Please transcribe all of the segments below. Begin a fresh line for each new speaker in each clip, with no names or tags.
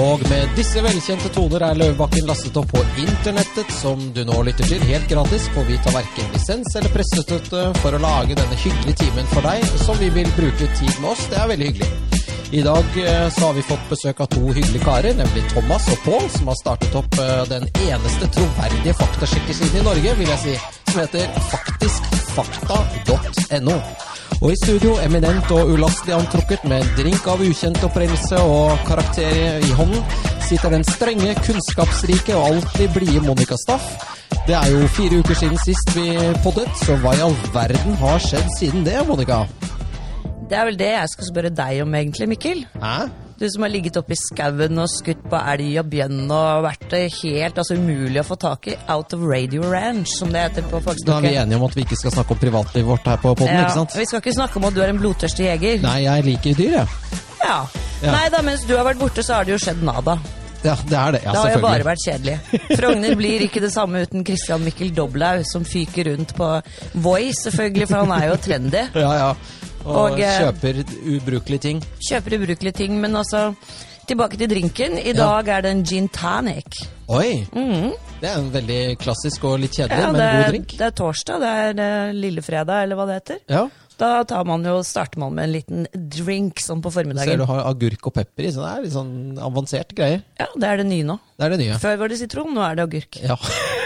Og med disse velkjente toner er Løvebakken lastet opp på internettet, som du nå lytter til helt gratis, for vi tar verken lisens eller pressestøtte for å lage denne hyggelige timen for deg, som vi vil bruke tid med oss. Det er veldig hyggelig. I dag eh, så har vi fått besøk av to hyggelige karer, nemlig Thomas og Pål, som har startet opp eh, den eneste troverdige faktasjekkersiden i Norge, vil jeg si, som heter faktiskfakta.no. Og i studio, eminent og ulastelig antrukket med en drink av ukjent opprinnelse og karakter i hånden, sitter den strenge, kunnskapsrike og alltid blide Monica Staff. Det er jo fire uker siden sist vi poddet, så hva i all verden har skjedd siden det, Monica?
Det er vel det jeg skal spørre deg om, egentlig, Mikkel.
Hæ?
Du som har ligget oppe i skauen og skutt på elg og bjønn og vært det helt altså, umulig å få tak i. Out of Radio Ranch, som det heter
Da
på
er vi
fagspråket.
enige om at vi ikke skal snakke om privatlivet vårt her på podden,
Ja,
ikke sant?
vi skal ikke snakke om at du er en blodtørstig jeger.
Nei, jeg liker dyr, jeg.
Ja.
Ja.
Nei da, mens du har vært borte, så har det jo skjedd nada.
Ja, det er det. Ja,
Det har jo bare
selvfølgelig.
vært kjedelig. Frogner blir ikke det samme uten Christian Mikkel Doblaug, som fyker rundt på Voice, selvfølgelig, for han er jo trendy.
Ja, ja. Og,
Og, eh,
kjøper ubrukelige ting.
Kjøper ubrukelige ting, men altså Tilbake til drinken. I dag er det en gin tonic.
Oi! Det er en veldig klassisk og litt kjedelig,
Mhm. Ja,
men
det,
god
er,
drink.
det er torsdag, det er eh, lillefredag, eller hva det heter.
Ja.
Da tar man jo, starter man med en liten drink sånn på
Ser
formiddagen.
du har agurk og pepper i, så det er litt sånn avansert greier.
Ja, det er det nye nå.
Det er det nye.
Før var det sitron, nå er det agurk.
Ja.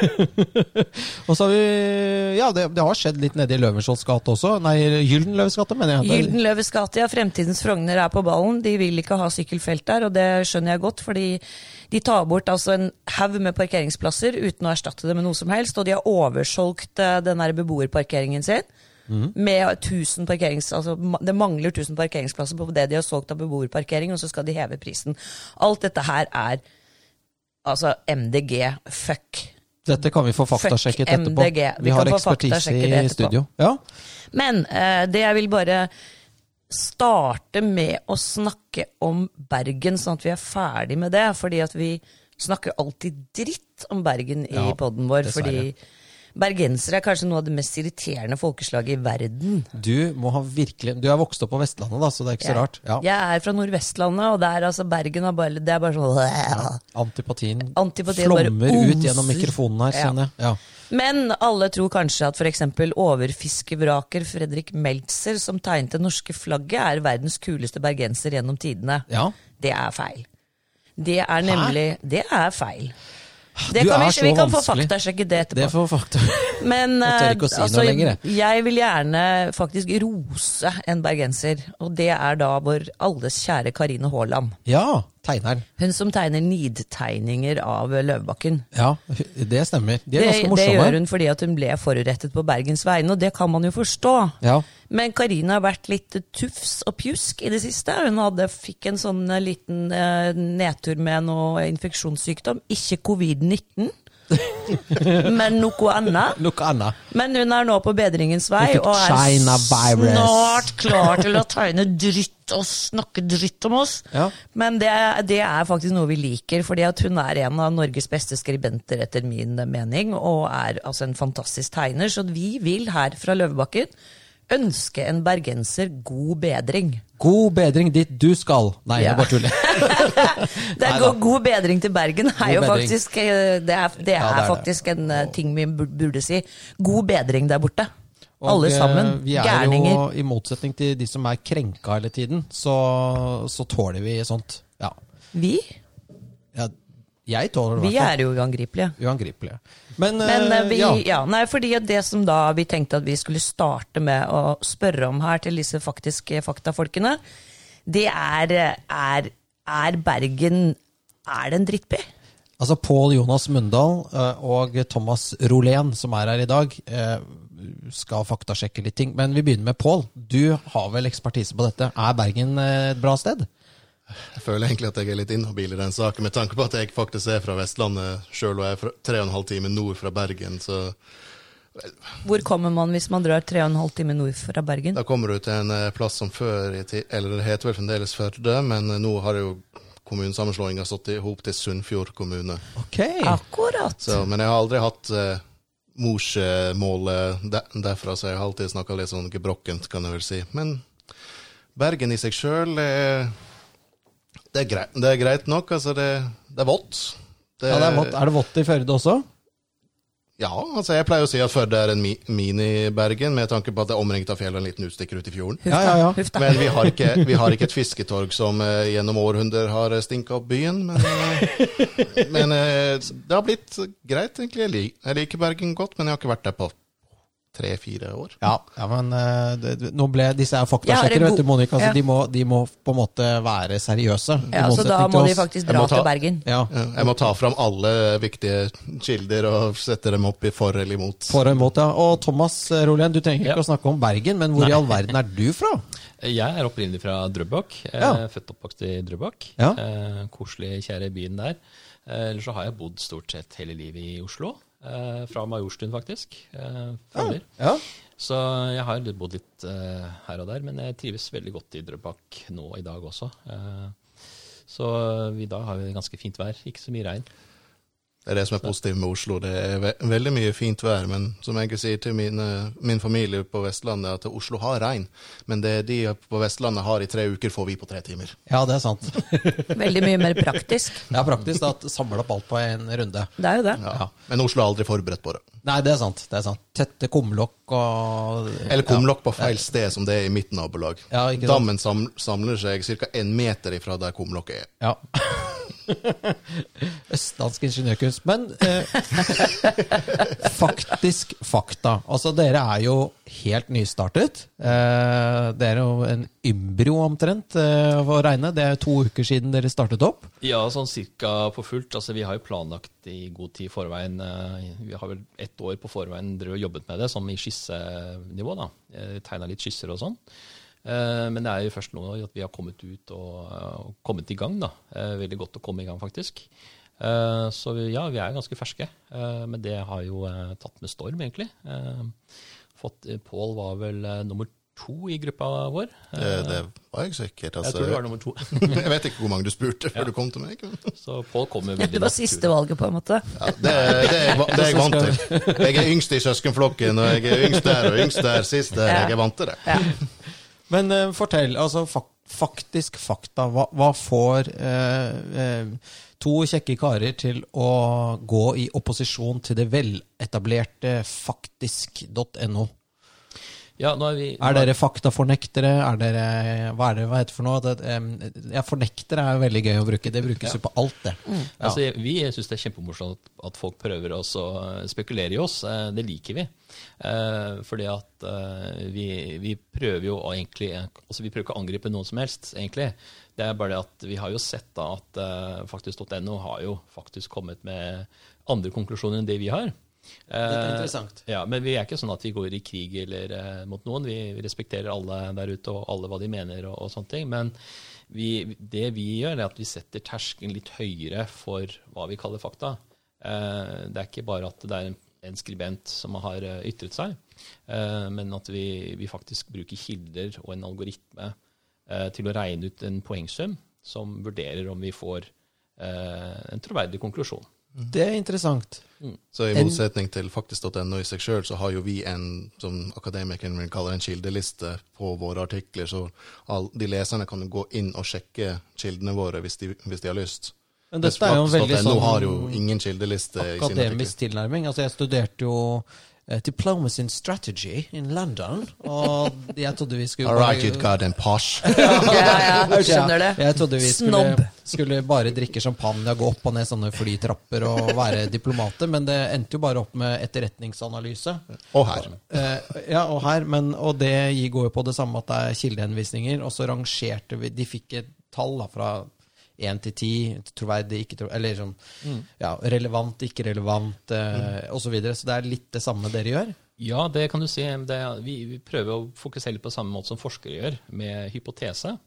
og så har vi Ja, det, det har skjedd litt nede i Løvenskiolds gate også. Nei, Gyldenløves gate, mener jeg. Det-
Gyldenløves gate, ja. Fremtidens Frogner er på ballen. De vil ikke ha sykkelfelt der, og det skjønner jeg godt, fordi de tar bort altså en haug med parkeringsplasser uten å erstatte det med noe som helst, og de har oversolgt eh, den der beboerparkeringen sin. Med 1000 parkerings, altså, ma- det mangler 1000 parkeringsplasser på det de har solgt av beboerparkering, og så skal de heve prisen. Alt dette her er altså MDG fuck.
Dette kan vi få
Fuck
faktasjekket etterpå.
MDG.
Vi,
Vi
har
kan få
ekspertise
faktasjekket det
i
etterpå.
studio. Ja.
Men eh, det jeg vil bare starte med å snakke om Bergen, sånn at vi er ferdig med det. Fordi at vi snakker alltid dritt om Bergen i
Ja,
podden vår.
dessverre.
Fordi bergensere er kanskje noe av det mest irriterende folkeslaget i verden.
Du må ha virkelig Du er vokst opp på Vestlandet, da, så det er ikke så rart. Ja.
Jeg er fra Nordvestlandet, og der altså Bergen har bare, det er bare sånn
Antipatien,
Antipatien bare
flommer ut
oser.
gjennom mikrofonen her,
Ja.
kjenner jeg. Ja.
Men alle tror kanskje at f.eks. overfiskevraker Fredrik Meltzer, som tegnet det norske flagget, er verdens kuleste bergenser gjennom tidene.
Ja.
Det er feil. Det er nemlig Det er feil. Det
Du
kan
er
vi,
så
vi kan få
vanskelig.
faktasjekke det etterpå.
Det får fakta.
Men
Jeg tør ikke å
eh,
si noe lenger, jeg.
jeg vil gjerne faktisk rose en bergenser, og det er da vår alles kjære Karine Haaland.
Ja, tegneren.
Hun som tegner nidtegninger av eh, Løvebakken.
Ja, det stemmer. De er
Det,
ganske
det
morsomme.
gjør hun fordi at hun ble forurettet på Bergens vegne, og det kan man jo forstå.
Ja.
Men Karina har vært litt tufs og pjusk i det siste. Hun hadde, fikk en sånn eh, liten eh, nedtur med noe infeksjonssykdom. Ikke covid-19, men noe annet.
Noe annet.
Men hun er nå på bedringens vei
Hun fikk
og er
China virus.
snart klar til å tegne dritt og snakke dritt om oss.
Ja.
Men det, det er faktisk noe vi liker, fordi at hun er en av Norges beste skribenter etter min mening, og er altså en fantastisk tegner. Så vi vil her fra Løvebakken ønske en bergenser god bedring.
God bedring dit du skal. Nei,
Ja.
jeg bare tuller.
Det er
Neida.
god, god bedring til Bergen er jo
bedring.
faktisk, eh, det er, det
Ja, det
er,
er det.
faktisk en eh, ting vi bur- burde si. God bedring der borte.
Og,
Alle sammen.
eh, Vi er
Gærninger.
jo, i motsetning til de som er krenka hele tiden, så, så tåler vi sånt. Ja.
Vi?
ja jeg tåler det i
Vi
hvert fall.
er jo uangripelige.
Uangripelige. Men,
Men
eh,
eh, vi,
ja.
ja. nei, fordi at det som da vi tenkte at vi skulle starte med å spørre om her til disse faktiske faktafolkene, det er eh, Er, er Bergen Er det en drittby?
Altså Pål Jonas Mundal eh, og Thomas Rolén, som er her i dag, eh, skal faktasjekke litt ting. Men vi begynner med Pål. Du har vel ekspertise på dette. Er Bergen eh, et bra sted?
Jeg føler egentlig at jeg er litt inhabil i den saken, med tanke på at jeg faktisk er fra Vestlandet sjøl, og jeg er fra- tre og en halv time nord fra Bergen. Så
Hvor kommer man hvis man drar tre og en halv time nord fra Bergen?
da kommer du til en eh, plass som før i tid, eller det heter vel fremdeles Førde, men eh, nå har jo kommunesammenslåinga stått i hop til Sunnfjord kommune.
Ok.
Akkurat.
Så, men jeg har aldri hatt eh, morsmålet de- derfra, så jeg har alltid snakka litt sånn gebrokkent, kan jeg vel si. Men Bergen i seg sjøl Det er greit, det er greit nok. Altså, det, det er vått. Det,
Ja, det er, vått. er det vått i Førde også?
Ja, altså jeg pleier å si at Førde er en mi mini-Bergen, med tanke på at det er omringet av fjell og en liten utstikker ut i fjorden.
Ja, ja, ja.
Huff da.
Men vi har ikke, vi har ikke et fisketorg som eh, gjennom århundrer har eh, stinka opp byen. Men, eh, men eh, det har blitt greit, egentlig. Jeg, lik, jeg liker Bergen godt, men jeg har ikke vært der på tre-fire år.
Ja, ja men eh, det, det- nå ble, disse er
Jeg har en
faktasjekkere, vet du,
god-
Monica.
ja.
Så de, må, de må på en måte være seriøse. i
Ja, så da
motsetning
må
til
de
oss.
faktisk
Jeg
dra
må ta-
til Bergen.
ja.
Eh, Jeg må ta fram alle viktige kilder og sette dem opp i for eller imot.
For og imot, ja. Og Thomas eh, Rolien, du trenger ikke
Ja.
å snakke om Bergen, men hvor i all verden er du fra?
Jeg er opprinnelig fra Drøbak. eh,
Ja.
Født og oppvokst i Drøbak.
Ja.
Eh, koselig, kjære byen der. Eh, ellers så har jeg bodd stort sett hele livet i Oslo. Eh, fra Majorstuen, faktisk. Eh, Frogner.
Ja.
Så jeg har litt- bodd litt eh, her og der, men jeg trives veldig godt i Drøbak nå i dag også. Eh, så vi, i dag har vi ganske fint vær, ikke så mye regn.
Det er det som er positivt med Oslo. Det er ve veldig mye fint vær, men som jeg sier til min, eh, min familie på Vestlandet, at Oslo har regn, men det de på Vestlandet har i tre uker, får vi på tre timer.
ja, det er sant.
Veldig mye mer praktisk.
Det er praktisk da, at samle opp alt på en runde.
Det er jo det.
Ja. Men Oslo er aldri forberedt på det.
Nei, det er sant. det er sant. Tette kumlokk og
Eller kumlokk på feil sted, som det er i mitt nabolag.
Ja, ikke sant.
Dammen sam samler seg ca. én meter ifra der kumlokket er.
Ja. Østlandsk ingeniørkunst. Men eh, faktisk fakta. Altså, dere er jo helt nystartet. Eh, det er jo en ymbro omtrent eh, å regne. Det er to uker siden dere startet opp.
Ja, sånn cirka på fullt. Altså, vi har jo planlagt i god tid i forveien. eh, Vi har vel ett år på forveien drevet og jobbet med det, sånn i skissenivå. da. Tegna litt skisser og sånn. Eh, Men det er jo først nå at vi har kommet ut og, eh, og kommet i gang. da. Eh, Veldig godt å komme i gang, faktisk. Eh, Så vi- ja, vi er ganske ferske. Eh, Men det har jo eh, tatt med storm, egentlig. Eh, Fått, eh, Pål var vel eh, nummer to i gruppa vår. Eh,
Det, det var jeg sikkert.
Jeg
Altså.
tror du var nummer to.
jeg vet ikke hvor mange du spurte før du kom til meg. men-
Så Pål kommer veldig
Det var
godt ut.
siste valget, på en måte.
Ja, det, er- det, er jeg va- det er jeg vant til. Jeg er yngst i søskenflokken, og jeg er yngst der og yngst der sist der. Jeg er vant til det.
Ja.
Men eh, fortell, altså fak faktisk fakta. Hva, hva får eh, eh, to kjekke karer til å gå i opposisjon til det veletablerte faktisk.no?
Ja, nå er vi...
Er dere faktafornektere? Er dere, hva er det hva heter det for noe? Det, eh, ja, fornektere er jo veldig gøy å bruke. Det brukes jo på alt, det.
Mm.
Ja.
Altså, jeg- vi syns det er kjempemorsomt at- at folk prøver også å spekulere i oss. Eh, Det liker vi. Eh, Fordi at eh, vi, vi prøver jo å egentlig altså Vi prøver ikke å angripe noen som helst, egentlig. Det er bare det at vi har jo sett da at eh, faktisk.no har jo faktisk kommet med andre konklusjoner enn det vi har.
er
Eh,
interessant.
Ja, Men vi er ikke sånn at vi går i krig eller eh, mot noen. Vi, vi respekterer alle der ute og alle hva de mener og, og sånne ting. Men vi, det vi gjør, er at vi setter terskelen litt høyere for hva vi kaller fakta. Eh, det er ikke bare at det er en, en skribent som har eh, ytret seg, eh, men at vi, vi faktisk bruker kilder og en algoritme eh, til å regne ut en poengsum som vurderer om vi får eh, en troverdig konklusjon.
Det er interessant.
Så i motsetning til faktisk.no i seg sjøl, så har jo vi en, som akademikeren min kaller en kildeliste på våre artikler, så all, de leserne kan jo gå inn og sjekke kildene våre hvis de, hvis de har lyst.
Men dette er jo en veldig
Faktisk.no
sånn
har jo ingen kildeliste i sine artikler.
akademisk tilnærming. Altså, jeg studerte jo eh, Diplomacy in Strategy in London, og jeg trodde vi skulle
All right, you goddamn posh.
Ja, ja, skjønner
Ja, Jeg trodde
det.
vi
Snobb.
skulle, skulle bare drikke champagne og gå opp og ned sånne flytrapper og være diplomater, men det endte jo bare opp med etterretningsanalyse.
Og her.
Eh, ja, og her, men, og det gir- går jo på det samme at det er kildehenvisninger, og så rangerte vi, de fikk et tall da, fra 1 til 10, troverdig, ikke troverdig, eller sånn,
Mm.
ja, relevant, ikke relevant, eh, og så videre, så det er litt det samme dere gjør.
Ja, det kan du si. Det, vi, vi prøver å fokusere litt på samme måte som forskere gjør, med hypotese.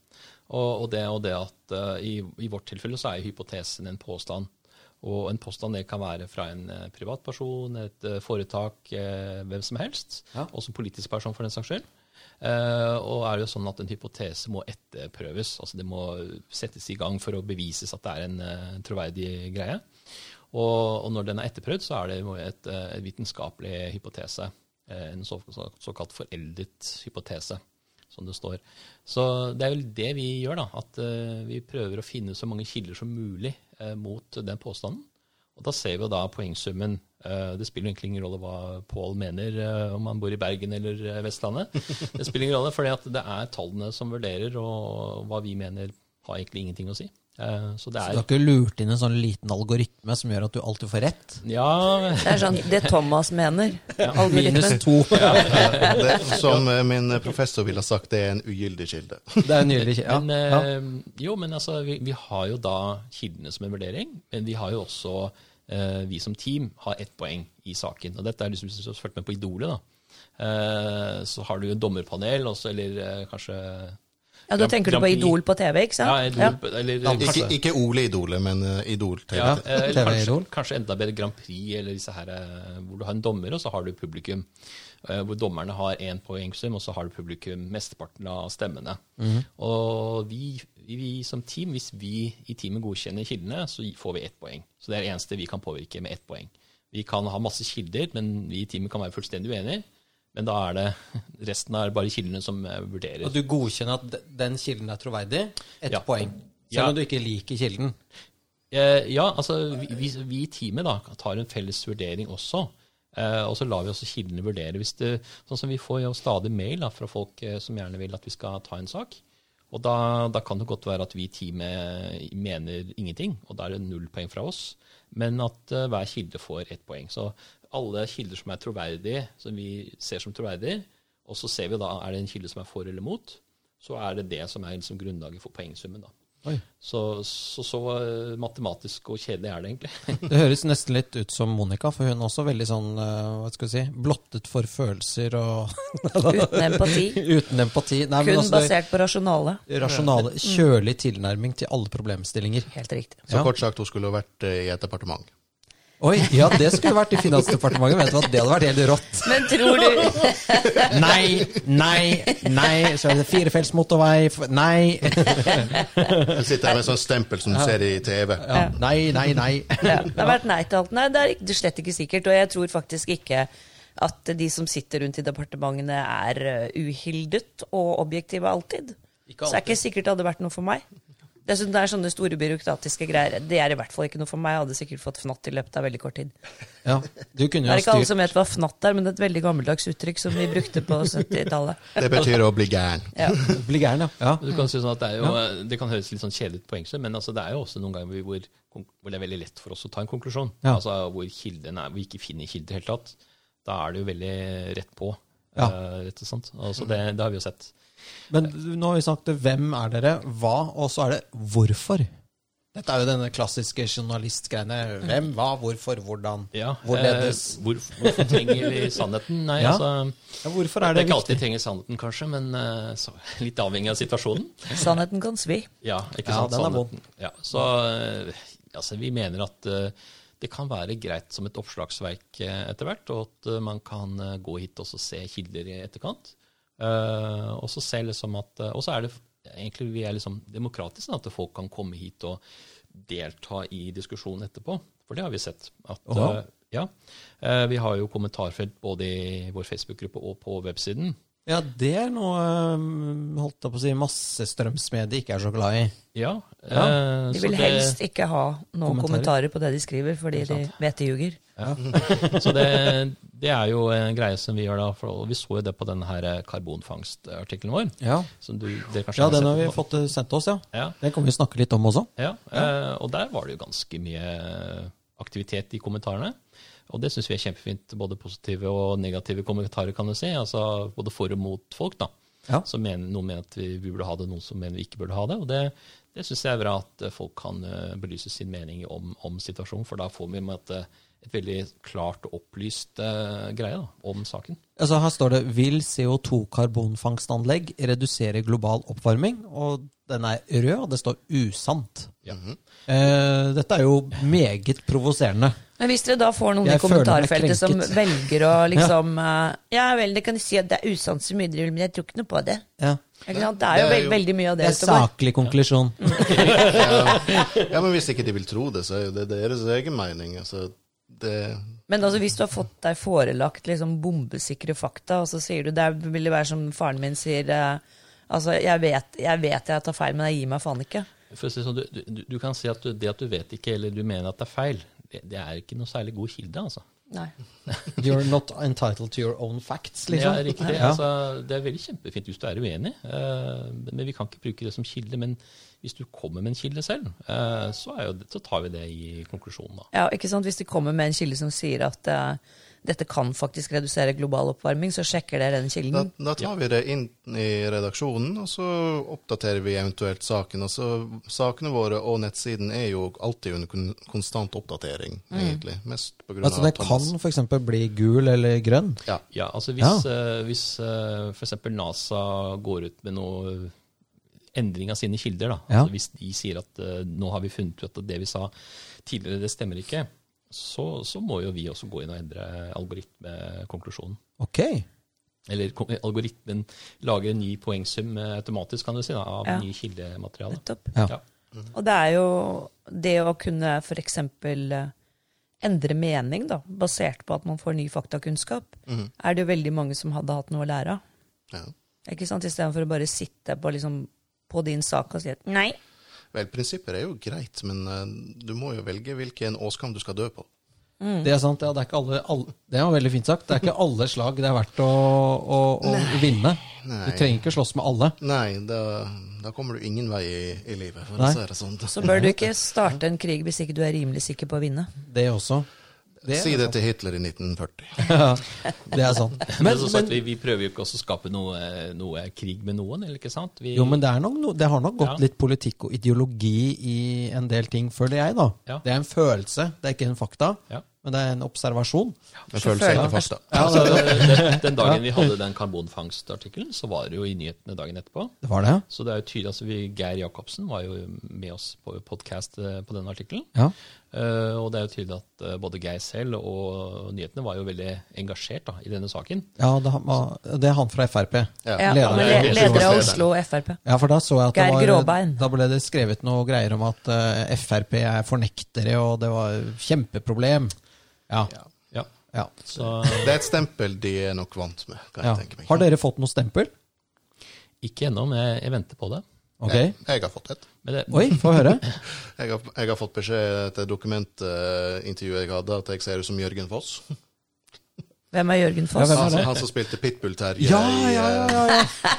Og, og, det, og det at eh, i, i vårt tilfelle så er jo hypotesen en påstand. Og en påstand det kan være fra en eh, privatperson, et eh, foretak, eh, hvem som helst.
Ja.
Også en politisk person, for den saks skyld. Eh, og er det jo sånn at en hypotese må etterprøves. altså Det må settes i gang for å bevises at det er en eh, troverdig greie. Og, og når den er etterprøvd, så er det jo et, eh, en vitenskapelig hypotese. eh, En så, så, såkalt foreldet hypotese. som det står. Så det er vel det vi gjør, da. At eh, vi prøver å finne så mange kilder som mulig eh, mot den påstanden. Og da ser vi jo da poengsummen. Eh, det spiller egentlig ingen rolle hva Pål mener, eh, om han bor i Bergen eller eh, Vestlandet. Det spiller ingen rolle, for det er tallene som vurderer, og hva vi mener har egentlig ingenting å si. Eh, så det
Så du
er
har ikke lurt inn en sånn liten algoritme som gjør at du alltid får rett?
Ja,
Det er sånn det Thomas mener.
Minus
Algoritmen.
to.
Det, som eh, min professor ville ha sagt, det er en ugyldig kilde.
Det er nydelig. Ja.
Men,
Ja.
eh, Jo, men altså, vi, vi har jo da kildene som en vurdering, men vi har jo også, eh, vi som team, har ett poeng i saken. Og dette er liksom, hvis du har fulgt med på Idolet, da. Eh, så har du jo dommerpanel også, eller eh, kanskje
Ja, Da tenker du på Idol på TV, ikke
Ja,
sant?
Idol, Eller,
Ikke,
kanskje,
ikke Ole Idole, men eh, Idol-TV.
ja, eh, eller
TV
kanskje,
Idol.
kanskje enda bedre Grand Prix, eller disse her, eh, hvor du har en dommer, og så har du publikum. Eh, Hvor dommerne har én poengsum, og så har du publikum mesteparten av stemmene.
Mhm.
Og vi, vi som team, hvis vi i teamet godkjenner kildene, så får vi ett poeng. Så det er det eneste vi kan påvirke med ett poeng. Vi kan ha masse kilder, men vi i teamet kan være fullstendig uenige. Men da er det resten er bare kildene som eh, vurderer.
Og du godkjenner at de- den kilden er troverdig? Ett
Ja.
poeng.
Ja.
Selv om du ikke liker kilden.
Eh, ja, altså vi- vi, vi i teamet da, tar en felles vurdering også. Eh, og så lar vi også kildene vurdere. Hvis det, sånn som Vi får jo stadig mail da, fra folk eh, som gjerne vil at vi skal ta en sak. Og Da, da kan det godt være at vi i teamet mener ingenting, og da er det null poeng fra oss. Men at eh, hver kilde får ett poeng. Så alle kilder som er troverdige, som vi ser som troverdige, og så ser vi da er det en kilde som er for eller mot, så er det det som er liksom grunnlaget for poengsummen. da. Så så, så eh, matematisk og kjedelig er det egentlig.
Det høres nesten litt ut som Monica, for hun er også veldig sånn eh, hva skal vi si, blottet for følelser og
Uten empati.
Uten empati. Nei, men
Kun
altså, det-
basert på Mm. rasjonale.
rasjonale, kjølig tilnærming til alle problemstillinger.
Helt riktig.
Så
Ja.
kort sagt, hun skulle ha vært eh, i et departement.
Oi, ja, det skulle vært i Finansdepartementet. Vet du hva, Det hadde vært helt rått.
Men tror du
Nei, nei, nei. Så er det firefelts motorvei. f- Nei.
Hun sitter her med en sånn stempel som du ser i TV.
Ja, nei, nei, nei.
ja, Det har vært nei til alt. Nei, det er ikke- det er slett ikke sikkert. Og jeg tror faktisk ikke at de som sitter rundt i departementene, er eh, uhildet og objektive alltid.
Ikke
Så det er ikke sikkert det hadde vært noe for meg. Dessuten det er sånne store byråkratiske greier. Det er i hvert fall ikke noe for meg. Jeg hadde sikkert fått fnatt i løpet av veldig kort tid.
Ja, du kunne
Det
jo
er ikke alle
styrt
som vet hva fnatt er, men det er et veldig gammeldags uttrykk som vi brukte på 70-tallet.
Det betyr å bli gæren.
Ja.
Bli gæren, ja. ja.
Du kan si sånn at Det, er jo, eh, det kan høres litt sånn kjedelig ut, poengsum, men altså, det er jo også noen ganger hvor, hvor det er veldig lett for oss å ta en konklusjon.
Ja.
Altså Hvor kilden er, vi ikke finner kilder i det hele tatt. Da er det jo veldig rett på.
Ja.
eh, rett og slett. Og så det, det har vi jo sett.
Men nå har vi snakket hvem er dere, hva, og så er det hvorfor. Dette er jo denne klassiske journalistgreiene. Hvem, hva, hvorfor, hvordan.
Ja,
Hvorledes.
eh, hvor, hvorfor trenger vi sannheten? Nei,
Ja.
altså,
Ja, hvorfor er
det
det
er ikke
viktig?
alltid vi trenger sannheten, kanskje, men eh, så, litt avhengig av situasjonen.
Sannheten kan svi.
Ja, ikke
Ja,
sant?
den er
Sannheten. Ja, så eh, altså, vi mener at eh, det kan være greit som et oppslagsverk eh, etter hvert, og at eh, man kan eh, gå hit og så se kilder i etterkant. Eh, og så se liksom at eh, Og så er det f- egentlig vi er liksom demokratiske, da, at folk kan komme hit og delta i diskusjonen etterpå. For det har vi sett. at
Oha.
eh, ja, eh, Vi har jo kommentarfelt både i vår Facebook-gruppe og på websiden.
Ja, det er noe øhm, holdt jeg på å si, massestrømsmedier ikke er så glad i.
Ja, eh,
De
så
vil
det-
helst ikke ha noen
Kommentarer.
kommentarer på det de skriver, fordi de vet de ljuger.
Så det, det er jo en greie som vi gjør da. For, og vi så jo det på denne her eh, karbonfangstartikkelen vår.
Ja,
Som du, dere kanskje
ja den har
sett
vi
på.
fått eh, sendt oss, ja.
Ja,
Den kan vi snakke litt om også.
ja, eh, og der var det jo ganske mye eh, aktivitet i kommentarene. Og det syns vi er kjempefint. Både positive og negative kommentarer, kan du si. Altså både for og mot folk, da.
Ja.
Som mener, noen mener at vi, vi burde ha det, noen som mener vi ikke burde ha det. Og det, det syns jeg er bra at eh, folk kan eh, belyse sin mening om, om situasjonen, for da får vi med at, eh, et veldig klart og opplyst eh, greie da, om saken.
Altså Her står det 'Vil CO2-karbonfangstanlegg redusere global oppvarming?' Og den er rød, og det står 'usant'.
Ja.
Eh, dette er jo meget provoserende.
Men hvis dere da får noen
Jeg
i
føler meg
kommentarfeltet som
krenket.
velger å liksom eh, Ja vel, dere kan si at det er usant så mye dere vil, men jeg tror ikke noe på det.
Ja.
Ikke sant? Det er jo,
Det er
veld-
jo-
veldig mye av
Det
det
er
ute og går.
saklig konklusjon.
Ja, Men hvis ikke de vil tro det, så er jo det deres egen mening. Altså, det,
Men altså, hvis du har fått deg forelagt liksom bombesikre fakta, og så sier du det ville være som faren min sier eh, Altså, jeg vet, jeg vet jeg tar feil, men jeg gir meg faen ikke.
For å si det sånn, du, du, du kan si at du, det at du vet ikke, eller du mener at det er feil, det, det er ikke noe særlig god kilde, altså.
Nei.
You're not entitled to your own facts,
Det
liksom.
er riktig.
Ja.
Altså, det er veldig kjempefint hvis du er uenig, eh, men vi kan ikke bruke det som kilde. Men hvis du kommer med en kilde selv, eh, så, er jo, det- så tar vi det i konklusjonen, da.
Ja, ikke sant? Hvis de kommer med en kilde som sier at eh, dette kan faktisk redusere global oppvarming, så sjekker dere den
Da,
Mm.
kilden.
da tar vi det inn i redaksjonen, og så oppdaterer vi eventuelt saken. Og så Sakene våre og nettsiden er jo alltid under kon- konstant oppdatering, egentlig. Mest på grunn
Mm. Altså,
av
den kan
Thomas.
f.eks. bli gul eller grønn.
Ja.
Ja, altså hvis, eh, hvis eh, for eksempel NASA går ut med noe endring av sine kilder, da.
Ja.
Altså hvis de sier at eh, nå har vi funnet ut at det vi sa tidligere, det stemmer ikke, så, så må jo vi også gå inn og endre algoritmekonklusjonen.
Ok.
Eller ko- algoritmen lager en ny poengsum eh, automatisk, kan du si, da, av
Ja.
nye kildemateriale.
Nettopp.
Ja. Mm.
Ja.
Og det er jo det å kunne f.eks. endre mening, da, basert på at man får ny faktakunnskap,
Mm.
er det jo veldig mange som hadde hatt noe å lære av.
Ja.
Ikke sant? Istedenfor å bare sitte på, liksom, på din sak og si at nei.
Vel, prinsipper er jo greit, men eh, du må jo velge hvilken åskam du skal dø på.
Det er sant. Ja, det, er ikke alle, alle, det var veldig fint sagt. Det er ikke alle slag det er verdt å, å, å vinne. Du
Nei.
trenger ikke slåss med alle.
Nei, da, da kommer du ingen vei i, i livet, for
Nei.
å si det sånn.
Så bør du ikke starte en krig hvis ikke du er rimelig sikker på å vinne.
Det også. Det,
si det til Hitler i 1940.
det er sant.
Men,
Men,
som sagt,
men,
vi, vi prøver jo ikke også å skape noe, noe krig med noen, eller ikke sant? Vi,
jo, men det, er nok, no- det har nok gått
Ja.
litt politikk og ideologi i en del ting, føler jeg, da.
Ja.
Det er en følelse, det er ikke en fakta,
Ja.
men det er en observasjon.
Jeg føler seg ikke fast, da.
Altså, den, den dagen vi hadde den karbonfangstartikkelen, så var det jo i nyhetene dagen etterpå.
Det var det,
Så det er jo tydelig, altså vi, Geir Jacobsen var jo med oss på podkast på den artikkelen.
ja.
Eh, og det er jo tydelig at eh, både Geir selv og nyhetene var jo veldig engasjert da, i denne saken.
Ja, det, han var, det er han fra Frp.
Ja,
Leder.
men le- Leder av Oslo Frp.
Ja, for da så jeg at
Geir
det var,
Gråbein.
da ble det skrevet noe greier om at eh, Frp er fornektere, og det var kjempeproblem. Ja.
Ja.
Ja,
ja.
Så
Det er et stempel de er nok vant med, kan
ja.
jeg tenke meg.
Har dere fått noe stempel?
ikke ennå, men jeg, jeg venter på det.
Ok.
Jeg, jeg har fått et.
Men det,
Oi, få høre.
Jeg har, jeg har fått beskjed etter dokumentintervjuet jeg hadde, at jeg ser ut som Jørgen Foss.
Hvem er Jørgen
Ja,
Foss?
hvem er
Han,
det?
han som spilte Pitbull-Terje.
Ja,
i,
ja, ja.
eh,
ja, ja.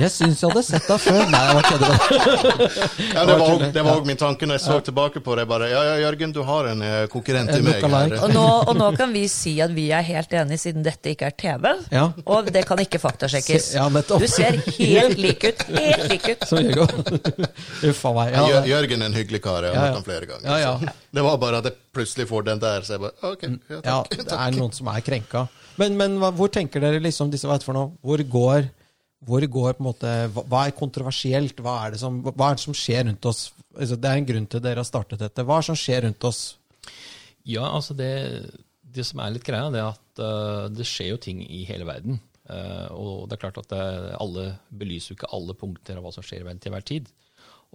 Jeg syns jeg hadde sett deg før. Nei, jeg var kødder.
ja, Det var også- det var òg min tanke når jeg så tilbake på det. bare, Ja, ja, Jørgen, du har en eh, konkurrent i
En
meg.
lookalike.
Og nå, og nå kan vi si at vi er helt enige, siden dette ikke er TV.
Ja.
Og det kan ikke faktasjekkes.
Se- ja, nettopp.
Du ser helt lik ut. Helt lik ut.
Så Hugo. Uff a meg.
Ja,
Ja,
Jør-
det-
Jørgen er en hyggelig kar, jeg har
Ja, ja.
hørt ham flere ganger.
Ja, ja.
så. Det var bare at jeg plutselig får den der, så jeg bare OK. Ja,
ja,
takk.
det er noen som er krenka. Men, men hva, hvor tenker dere liksom disse vet for noe? Hvor går, hvor går på en måte, hva, hva er kontroversielt? Hva er, det som, hva er det som skjer rundt oss? Altså, det er en grunn til dere har startet dette. Hva er det som skjer rundt oss?
Ja, altså det, det som er litt greia, det er at eh, det skjer jo ting i hele verden. Eh, og det er klart at det, alle belyser jo ikke alle punkter av hva som skjer i verden til hver tid.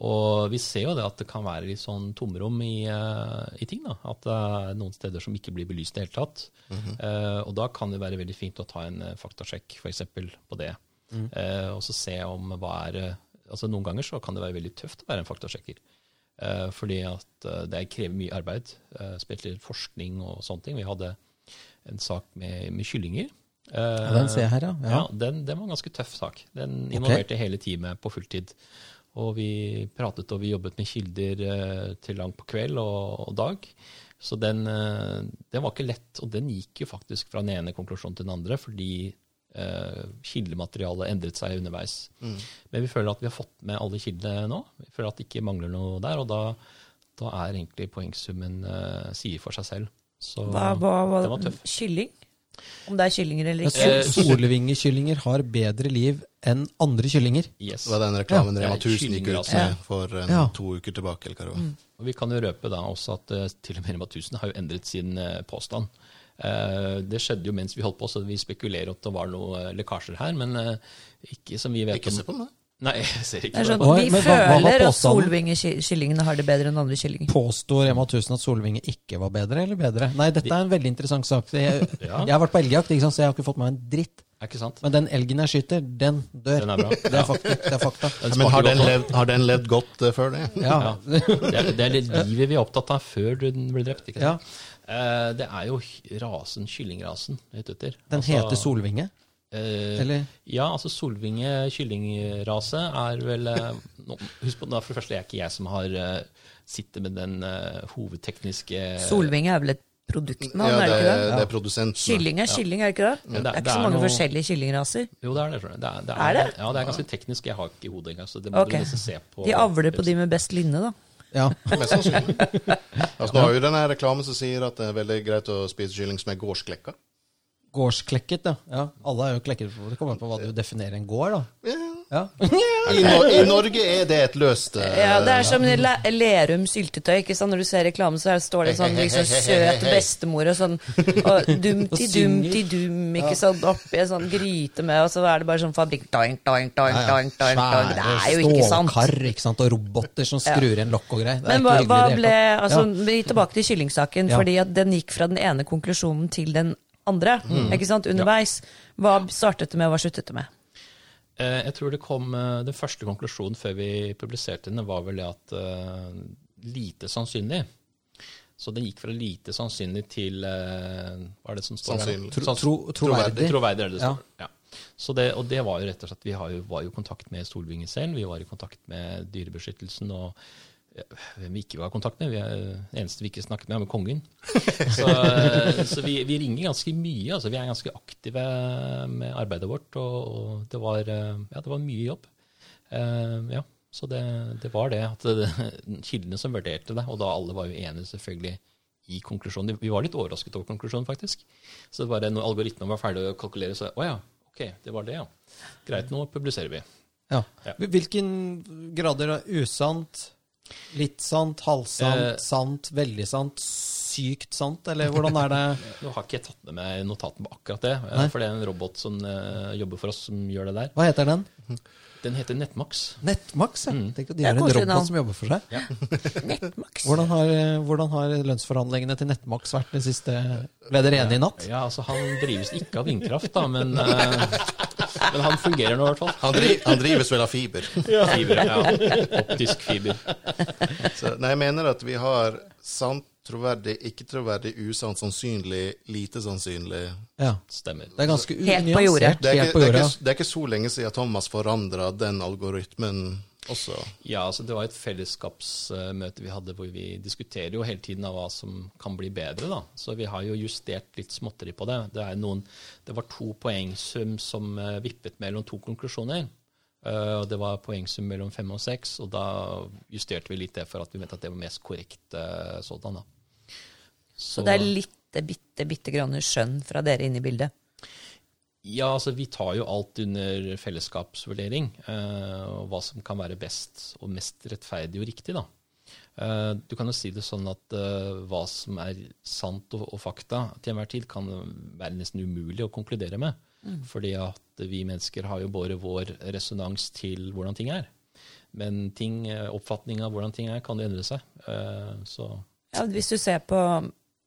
Og vi ser jo det at det kan være litt sånn tomrom i, eh, i ting. da, At det er noen steder som ikke blir belyst i det hele tatt. Eh, og da kan det være veldig fint å ta en eh, faktasjekk for eksempel, på det. Eh, og så se om hva er eh, altså Noen ganger så kan det være veldig tøft å være en faktasjekker. Eh, fordi at eh, det krever mye arbeid, eh, spesielt forskning og sånne ting. Vi hadde en sak med, med kyllinger. Eh,
den ser jeg her, ja. Ja.
ja den, den var en ganske tøff sak. Den involverte hele teamet på fulltid. Og vi pratet og vi jobbet med kilder eh, til langt på kveld og, og dag. Så den, eh, den var ikke lett, og den gikk jo faktisk fra den ene konklusjonen til den andre, fordi eh, kildematerialet endret seg underveis. Men vi føler at vi har fått med alle kildene nå. Vi føler at det ikke mangler noe der, og da, da er egentlig poengsummen eh, sier for seg selv. Så
Hva, hva, hva,
den var tøff.
kylling? Om det er kyllinger eller ikke?
Sol- Solvingekyllinger har bedre liv enn andre kyllinger.
Yes.
Det var den reklamen
Ja.
Rema
Det er
1000 gikk
kyllinger,
ut
altså.
med for en,
Ja. Mm.
to uker tilbake. eller hva det var.
Og Vi kan jo røpe da også at eh, til og med Rema 1000 har jo endret sin eh, påstand. Eh, Det skjedde jo mens vi holdt på, så vi spekulerer at det var noen lekkasjer her. Men eh, ikke som vi vet
Ikke se
om.
på meg.
Nei, jeg ser
Det
ikke
er sånn,
det.
Oi,
vi
men hva- hva var
føler at
påstanden?
solvingekyllingene har det bedre enn andre kyllinger.
Påstår Rema 1000 at solvinger ikke var bedre eller bedre? Nei, dette er en veldig interessant sak. Jeg,
Ja.
jeg har vært på elgjakt, ikke sant? så jeg har ikke fått med meg en dritt.
Er ikke sant?
Men den elgen jeg skyter, den dør.
Den er bra.
Det er fakta. Det er fakta.
Men har
Den smaker
den,
godt nå.
levd, har den levd godt eh, før det?
Ja.
Ja. Det, er, det er det livet vi er opptatt av før den ble drept. Ikke sant? Eh, det er jo rasen, kyllingrasen het etter.
Den
Altså,
heter Solvinge?
eh,
Eller?
Ja, altså Solvinge kyllingrase er vel eh, nå, Husk på, da, for det første er ikke jeg som har eh, sittet med den eh, hovedtekniske
Solvinge er vel et produkt med
Ja,
han, er det
det,
ikke det?
det er produsenten.
Kylling er kylling, er det ikke det?
Ja, det-
det er
det
ikke så
er
mange
noe-
forskjellige kyllingraser.
Jo, det er det. tror jeg. Det er, det
Er det?
Ja, det er ganske teknisk. Jeg har ikke hodet engang. Så det må
Ok.
du nesten se på.
De avler på de med best linne, da.
Ja.
Mest sannsynlig. Altså, nå har jo denne reklamen som sier at det er veldig greit å spise kylling som er gårdsklekka.
Gårdsklekket, ja. ja. Alle er jo klekket. Det kommer an på hva du definerer en gård, da. Ja.
I, Nor I Norge er det et løst eh,
Ja, Det er som le- Lerum syltetøy. ikke sant? Når du ser reklame, så er- står det sånn liksom, søt bestemor og sånn og dum-ti-dum-ti-dum, ikke sant? Oppi en sånn gryte med, og så er det bare sånn fabrikk doink, doink, doink, doink, doink, doink. Det er jo ikke sant.
Stålkar ikke sant? og roboter som skrur igjen lokk og greier. Det er
Men
ikke
hva,
hyggelig
hva
i det
ble
hele tatt.
altså, vi er Tilbake til kyllingsaken.
Ja.
Fordi at den gikk fra den ene konklusjonen til den andre
Mm.
ikke sant, underveis. Hva startet det med, og hva sluttet det med?
Eh, Jeg tror det kom, eh, Den første konklusjonen før vi publiserte den, var vel det at eh, lite sannsynlig. Så den gikk fra lite sannsynlig til eh, Hva er det som står
Sannsynlig.
Tro- tro-
Troverdig.
troverdig.
troverdig er det det
Ja.
står. Ja. Så det, og det var jo rett og slett, Vi har jo, var jo i kontakt med Solvinge selv, vi var i kontakt med Dyrebeskyttelsen og eh, hvem vi ikke var i kontakt med. Vi er, det eneste vi ikke snakket med, er med kongen. Så, eh, så vi, vi ringer ganske mye. altså Vi er ganske aktive med arbeidet vårt. Og, og det, var, eh, ja, det var mye jobb. Eh, ja, Så det, det var det. at det, Kildene som vurderte det, og da alle var jo enige selvfølgelig i konklusjonen. Vi var litt overrasket over konklusjonen, faktisk. Så det var det når algoritmen var ferdig å kalkulere, så å ja, ok, det var det, ja. Greit, nå publiserer vi.
Ja.
Ja.
Hvilken grader av usant, litt sant, halvsant,
Eh.
sant, veldig sant, sykt sant, eller hvordan er det?
Nå har ikke jeg tatt med meg notaten på akkurat det, eh,
Nei.
for det er en robot som eh, jobber for oss som gjør det der.
Hva heter den?
Den heter Nettmax.
Nettmax, ja.
Mm.
Tenk at de
Det er
har en
koselig
robot
navn.
som jobber for seg.
Nettmaks.
Hvordan har, eh, hvordan har lønnsforhandlingene til Nettmax vært de siste Ble dere enige i natt?
Ja, altså Han drives ikke av vindkraft, da, men, eh, men han fungerer nå i hvert fall.
Han, dri han drives vel av fiber.
Fiber, ja. Optisk fiber.
Så, nei, jeg mener at vi har sant, troverdig, ikke troverdig, usant, sannsynlig, lite sannsynlig.
Ja.
Stemmer.
Det er ganske
Helt på jordet.
unyansert.
Det er,
Helt
ikke,
på
det, er
jorda.
ikke, det er ikke så lenge siden Thomas forandra den algoritmen også.
Ja, altså Det var et fellesskapsmøte vi hadde hvor vi diskuterer jo hele tiden av hva som kan bli bedre. da. Så vi har jo justert litt småtteri på det. Det, er noen, det var to poengsum som eh, vippet mellom to konklusjoner. Eh, og Det var poengsum mellom fem og seks, og da justerte vi litt det for at vi mente at det var mest korrekt eh, sådan. da.
Så det er litt bitte, bitte grann skjønn fra dere inne i bildet.
Ja, altså vi tar jo alt under fellesskapsvurdering, eh, og hva som kan være best og mest rettferdig og riktig, da. Eh, du kan jo si det sånn at eh, hva som er sant og, og fakta til enhver tid, kan være nesten umulig å konkludere med. Fordi at vi mennesker har jo båret vår resonans til hvordan ting er. Men ting, eh, oppfatningen av hvordan ting er, kan jo endre seg. Eh, så
Ja, hvis du ser på,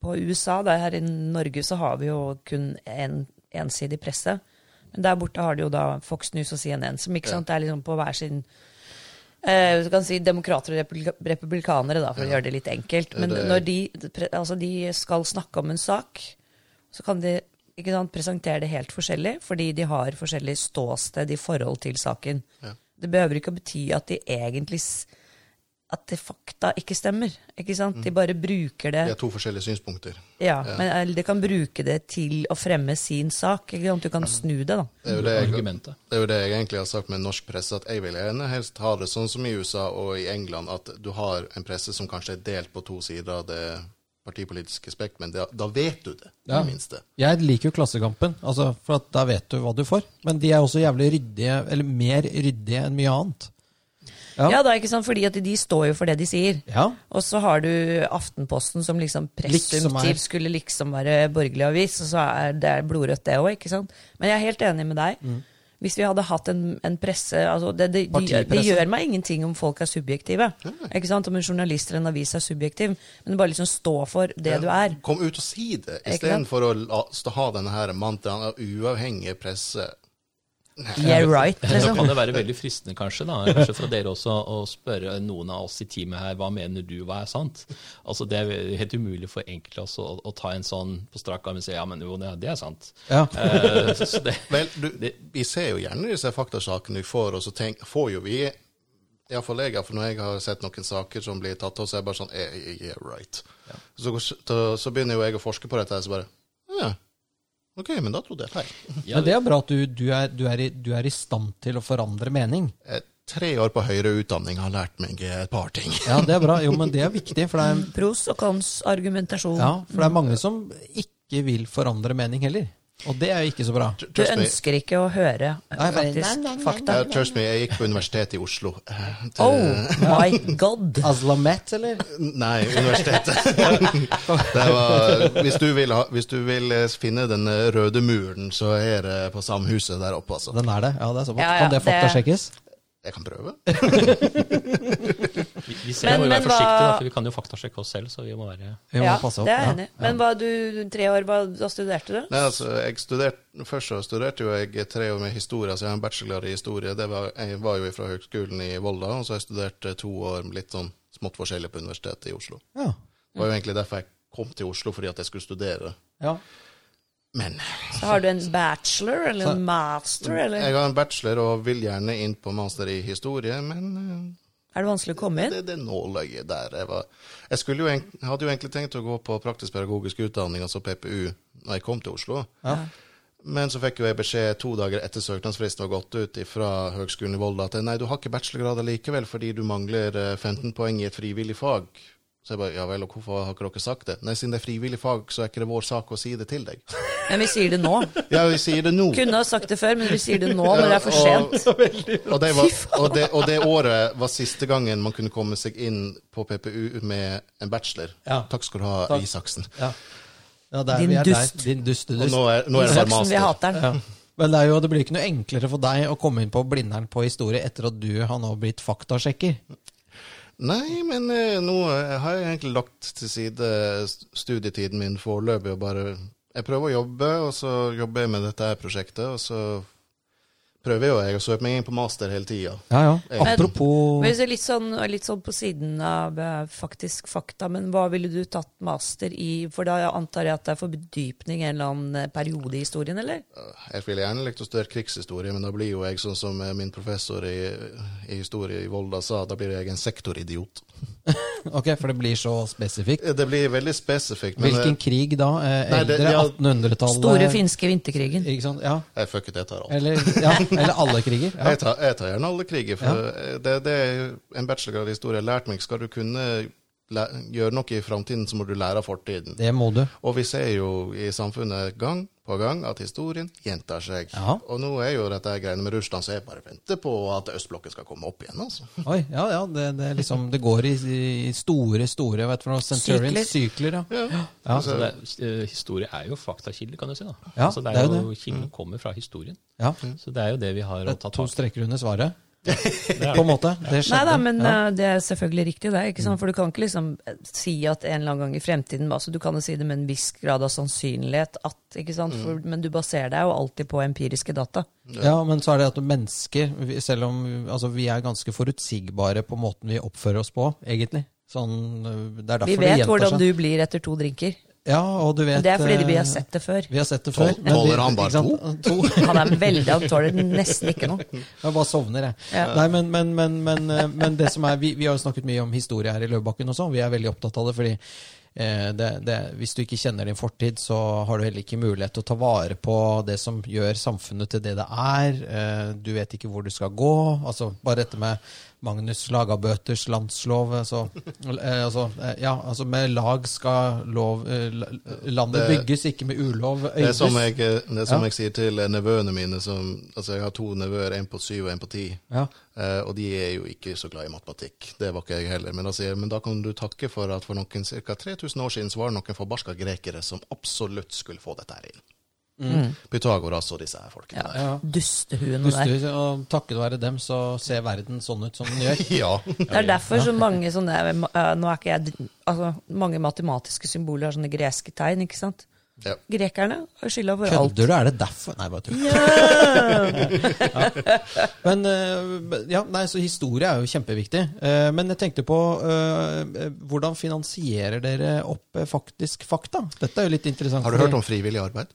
på USA, da, her i Norge så har vi jo kun en ensidig presse. Men der borte har de jo da Fox News og CNN, som ikke sant, det er liksom på hver sin eh, Du kan si demokrater og republika- republikanere, da, for å gjøre det litt enkelt. Men
Det-
når de, pre- altså, de skal snakke om en sak, så kan de ikke sant, presentere det helt forskjellig, fordi de har forskjellig ståsted i forhold til saken. Det behøver ikke å bety at de egentlig s- at det fakta ikke stemmer. ikke sant? De bare bruker det
Det er to forskjellige synspunkter.
Mm. ja, men eller de kan bruke det til å fremme sin sak. ikke sant? Du kan snu det, da.
Det er jo det jeg,
argumentet.
det er jo det jeg egentlig har sagt med norsk presse, at jeg vil gjerne helst ha det sånn som i USA og i England, at du har en presse som kanskje er delt på to sider av det partipolitiske spekt, men da- da vet du det, i
Ja.
det minste.
Jeg liker jo Klassekampen, altså, for at da vet du hva du får. Men de er også jævlig ryddige, eller mer ryddige enn mye annet. Ja.
Ja, da, ikke sant? Fordi at de står jo for det de sier.
Ja.
Og så har du Aftenposten som
Liksom
liksom
er.
presumptivt skulle
Mm.
liksom være borgerlig avis, og så er det blodrødt det òg, ikke sant. Men jeg er helt enig med deg. Hvis vi hadde hatt en, en presse altså det, det, de, gjør- det
Partipresse.
gjør meg ingenting om folk er subjektive. Ikke sant? Om en journalist eller en avis er subjektiv. Men bare liksom stå for det du er.
Kom ut og si det,
Ikke
istedenfor å la, st- ha denne her mantraen av uavhengig presse.
Yeah right,
Men Så
liksom.
kan det være veldig fristende kanskje da, kanskje fra dere også, å spørre noen av oss i teamet her hva mener du, hva er sant? Altså Det er helt umulig for enkelte av oss å, å ta en sånn på strak arm og si ja, men jo, det det er sant.
Ja.
Eh, så så det,
Vel, du, vi ser jo gjerne disse faktasakene vi får, og så tenk, får jo vi Iallfall jeg, for når jeg har sett noen saker som blir tatt opp, så er jeg bare sånn eh, Yeah, right. Så, så, så begynner jo jeg å forske på dette, og så bare Ja, OK, men da trodde jeg feil.
ja,
Men det er bra at du, du, er, du, er i, du er i stand til å forandre mening.
Eh, Tre år på høyere utdanning har lært meg eh, et par ting.
Ja, det er bra. Jo, men det er viktig, for det er,
Pros og cons, argumentasjon.
ja, for det er mange som ikke vil forandre mening heller. Og det er jo ikke så bra.
Du
Trust me.
ønsker ikke å høre
Nei, nei,
faktisk fakta.
Ja, trust me, jeg gikk på universitetet i Oslo. Eh, til-
Oh my god!
Azlamet, eller?
Nei, universitetet. det var, hvis, du vil ha, hvis du vil eh, finne den eh, røde muren, så er det på Samhuset der oppe, altså.
Den er det. Ja, det er såpass.
Ja, ja,
kan det
det-
faktasjekkes?
Jeg kan prøve.
vi, vi ser
Men-
må jo
men
være forsiktige, da,
hva-
for vi kan jo faktasjekke oss selv, så vi må være
Vi må
Ja,
passe opp.
det er jeg
ja.
enig i. Men hva du, tre år, hva, da studerte du?
Nei, altså, jeg studerte, først så studerte jo jeg tre år med historie, så jeg har en bachelor i historie. Det var, jeg var jo fra Høgskolen i Volda, og så har jeg studert eh, to år med litt sånn smått forskjellig på Universitetet i Oslo.
Ja.
Det var jo egentlig derfor jeg kom til Oslo, fordi at jeg skulle studere.
Ja.
Men
Så har du en bachelor eller en master, eller?
jeg har en bachelor og vil gjerne inn på master i historie, men eh,
Er det vanskelig å komme inn?
det, det nåløyet der. Jeg, var, jeg, skulle jo egent- jeg hadde jo egentlig tenkt å gå på praktisk pedagogisk utdanning, altså PPU, når jeg kom til Oslo.
Ja.
Men så fikk jo jeg beskjed to dager etter søknadsfristen var gått ut fra Høgskolen i Volda at nei, du har ikke bachelorgrad allikevel fordi du mangler eh, 15 poeng i et frivillig fag. Så jeg bare ja vel, og hvorfor har ikke dere sagt det? Nei, siden det er frivillig fag, så er ikke det vår sak å si det til deg.
Men vi sier det nå.
Ja, vi sier det nå.
Kunne ha sagt det før, men vi sier det nå når det er for sent.
Og det, var, og, det, og det året var siste gangen man kunne komme seg inn på PPU med en bachelor.
Ja.
Takk skal du ha,
Takk.
Isaksen.
Ja. Ja, der,
Din
vi er
dust.
Der. Din dustedust.
Og nå er, nå er det bare
Isaksen, vi
master.
hater den.
Men det, er jo, det blir ikke noe enklere for deg å komme inn på Blindern på historie etter at du har nå blitt faktasjekker.
Nei, men eh, nå eh, har jeg egentlig lagt til side eh, st- studietiden min foreløpig og bare Jeg prøver å jobbe, og så jobber jeg med dette her prosjektet, og så prøver jo jeg å søke meg inn på master hele tida.
Ja, ja.
Men-
Eh, Apropos
Men så litt, sånn, litt sånn på siden av eh, faktisk fakta, men hva ville du tatt master i? For da antar jeg at det er for bedypning en eller annen eh, periode i historien, eller?
Eh, Jeg ville gjerne likt å studere krigshistorie, men da blir jo jeg sånn som eh, min professor i, i historie i Volda sa, da blir jeg en sektoridiot.
Ok, for det blir så spesifikt.
Det blir veldig spesifikt. Men
Hvilken
eh,
krig da? Eh,
Nei, det-
Eldre?
ja.
1800-tallet?
Store finske vinterkrigen.
Ikke sant? Ja.
jeg fuck it, jeg tar alt.
Eller, ja. Eller alle kriger? Ja.
Jeg, tar, jeg tar gjerne alle kriger, for eh, det, det er jo en bachelorgrad i historie har lært meg. Skal du kunne læ gjøre noe i framtiden, så må du lære av fortiden.
Det må du.
Og vi ser jo i samfunnet gang på gang at historien gjentar seg.
Ja.
Og nå er jo dette greiene med Russland, så jeg bare venter på at østblokken skal komme opp igjen. altså.
Oi, ja, ja. Det, det, er liksom, det går i, i store, store vet du, hva, Centurions sykler. ja.
altså, det, er- eh, Historie er jo faktakilder, kan du si. da.
Ja,
altså, det
det
er
er
jo,
jo
Kilden kommer fra historien.
ja.
Så det er jo det vi har
Det
å ta
er to
tak i.
streker under svaret,
Det er
på en måte. Det
Nei da,
skjedde.
men
Ja. Mm.
eh, det er selvfølgelig riktig, det. ikke sant? For du kan ikke liksom eh, si at en eller annen gang i fremtiden altså Du kan jo si det med en viss grad av sannsynlighet at, ikke sant? For, men du baserer deg jo alltid på empiriske data.
Mm. Ja, men så er det at mennesker, vi- selv om altså, vi er ganske forutsigbare på måten vi oppfører oss på, egentlig. Sånn, øh, det er derfor
Vi
det
vet
gjentar
hvordan
seg.
du blir etter to drinker.
Ja, og du vet
Det er fordi
eh,
vi har sett det før.
Vi har sett det før.
Tol-
men vi-
tåler han bare
ikke sant? to?
Han er veldig Han tåler nesten ikke noe.
Jeg bare sovner, jeg.
Ja.
Nei, men, men, men, men, eh, men det som er, vi, vi har jo snakket mye om historie her i Løvebakken også. Vi er veldig opptatt av det, fordi eh, det, det, hvis du ikke kjenner din fortid, så har du heller ikke mulighet til å ta vare på det som gjør samfunnet til det det er. Eh, du vet ikke hvor du skal gå. Altså, bare dette med Magnus Lagabøters landslov. Altså, eh, altså, eh, ja, altså med lag skal lov, eh, la- landet
Det-
bygges, ikke med ulov.
Det er som
øydes.
jeg, eh, det er som
Ja.
jeg sier til eh, nevøene mine, som, altså jeg har to nevøer, en på syv og en på ti.
Ja.
Eh, og de er jo ikke så glad i matematikk. Det var ikke jeg heller. Men da, sier, jeg, men da kan du takke for at for noen ca. 3000 år siden så var det noen forbarska grekere som absolutt skulle få dette her inn. Pythagoras og disse her folkene der.
Ja. Dustehuene der.
Puste, og takket være dem, så ser verden sånn ut som den gjør.
Ja.
Det er derfor så mange sånne eh, Nå er ikke jeg altså, Mange matematiske symboler har sånne greske tegn, ikke sant?
ja.
Grekerne har skylda for alt.
Kødder du? Er det derfor? Nei, bare tull. Men eh, ja, nei, så historie er jo kjempeviktig. Eh, Men jeg tenkte på eh, hvordan finansierer dere opp eh, faktisk fakta? Dette er jo litt interessant.
Har du hørt om frivillig arbeid?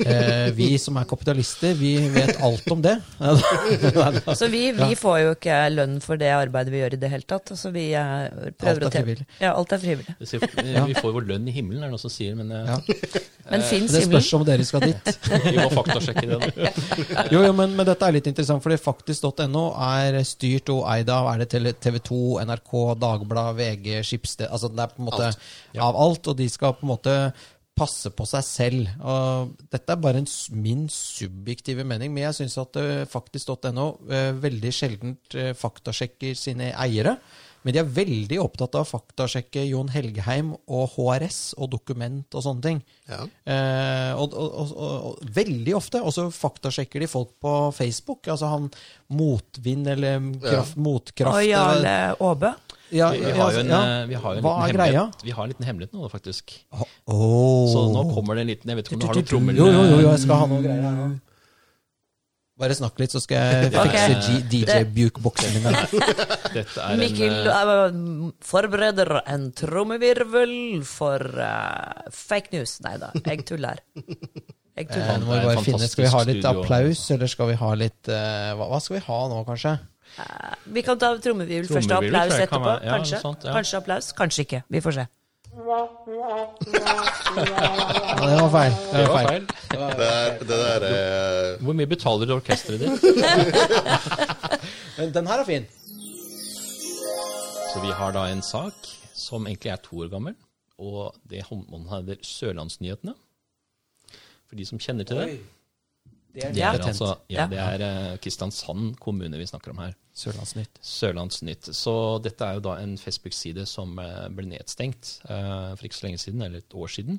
Eh, Vi som er kapitalister, vi vet alt om det. Alt
Så vi, vi får jo ikke lønn for det arbeidet vi gjør i det hele tatt. Altså, vi eh, prøver
er
å tjene-
frivillig.
Ja, alt er frivillig.
Vi ser- Vi får vår lønn i himmelen, er det noen som sier, men eh,
Ja.
Men fins
Det
himmelen?
spørs om dere skal dit.
vi må faktasjekke det. da.
Jo, jo men, men dette er litt interessant, fordi faktisk.no er styrt og eid av er det TV 2, NRK, Dagbladet, VG, Skipsted Altså det er på en måte av alt, og de skal på en måte passe på seg selv. Og dette er bare en, s- min subjektive mening, men jeg syns at eh, faktisk.no eh, veldig sjelden faktasjekker sine eiere. Men de er veldig opptatt av å faktasjekke Jon Helgheim og HRS og dokument og sånne ting.
Ja.
Eh, og, og, og, og, og veldig ofte. Og så faktasjekker de folk på Facebook. Altså han Motvind eller kraft, Motkraft.
Og
eller-
Jarle Aabe?
ja,
Vi, vi
ja,
har jo en,
ja.
eh, vi har jo en
Hva
liten
er greia?
hemmelighet. Vi har en liten hemmelighet nå, da, faktisk.
Åh.
Så nå kommer det en liten Jeg vet ikke om du har noen trommer?
Jo, jo, jo, jeg skal ha noen greier her nå. Bare snakk litt, så skal jeg
Ok.
fikse G- DJ Buke-boksen min. her.
Dette er
Mikkel
en, eh,
eh, forbereder en trommevirvel for eh, fake news. Nei da, jeg tuller. Jeg
Nå
tuller.
må vi
Det er
bare
et
finne. Skal vi ha litt
fantastisk studio.
applaus, eller skal vi ha litt eh, hva, hva skal vi ha nå, kanskje?
Vi kan ta trommevirvel først og
Trommevirvel,
applaus
tror jeg kan
etterpå.
være- ja,
Kanskje.
noe sånt, ja.
Kanskje applaus, kanskje ikke. Vi får se.
Nei, det var feil. Det
det
var
var
feil.
feil.
Det, er, det der eh,
Hvor mye betaler du orkesteret ditt?
Men den her er fin.
Så vi har da en sak som egentlig er to år gammel, og det omhandler Sørlandsnyhetene. For de som kjenner til det. Det
Ja.
er, altså, ja,
Ja.
det er eh, Kristiansand kommune vi snakker om her.
Sørlandsnytt.
Sørlandsnytt. Så dette er jo da en Facebook-side som eh, ble nedstengt eh, for ikke så lenge siden, eller et år siden,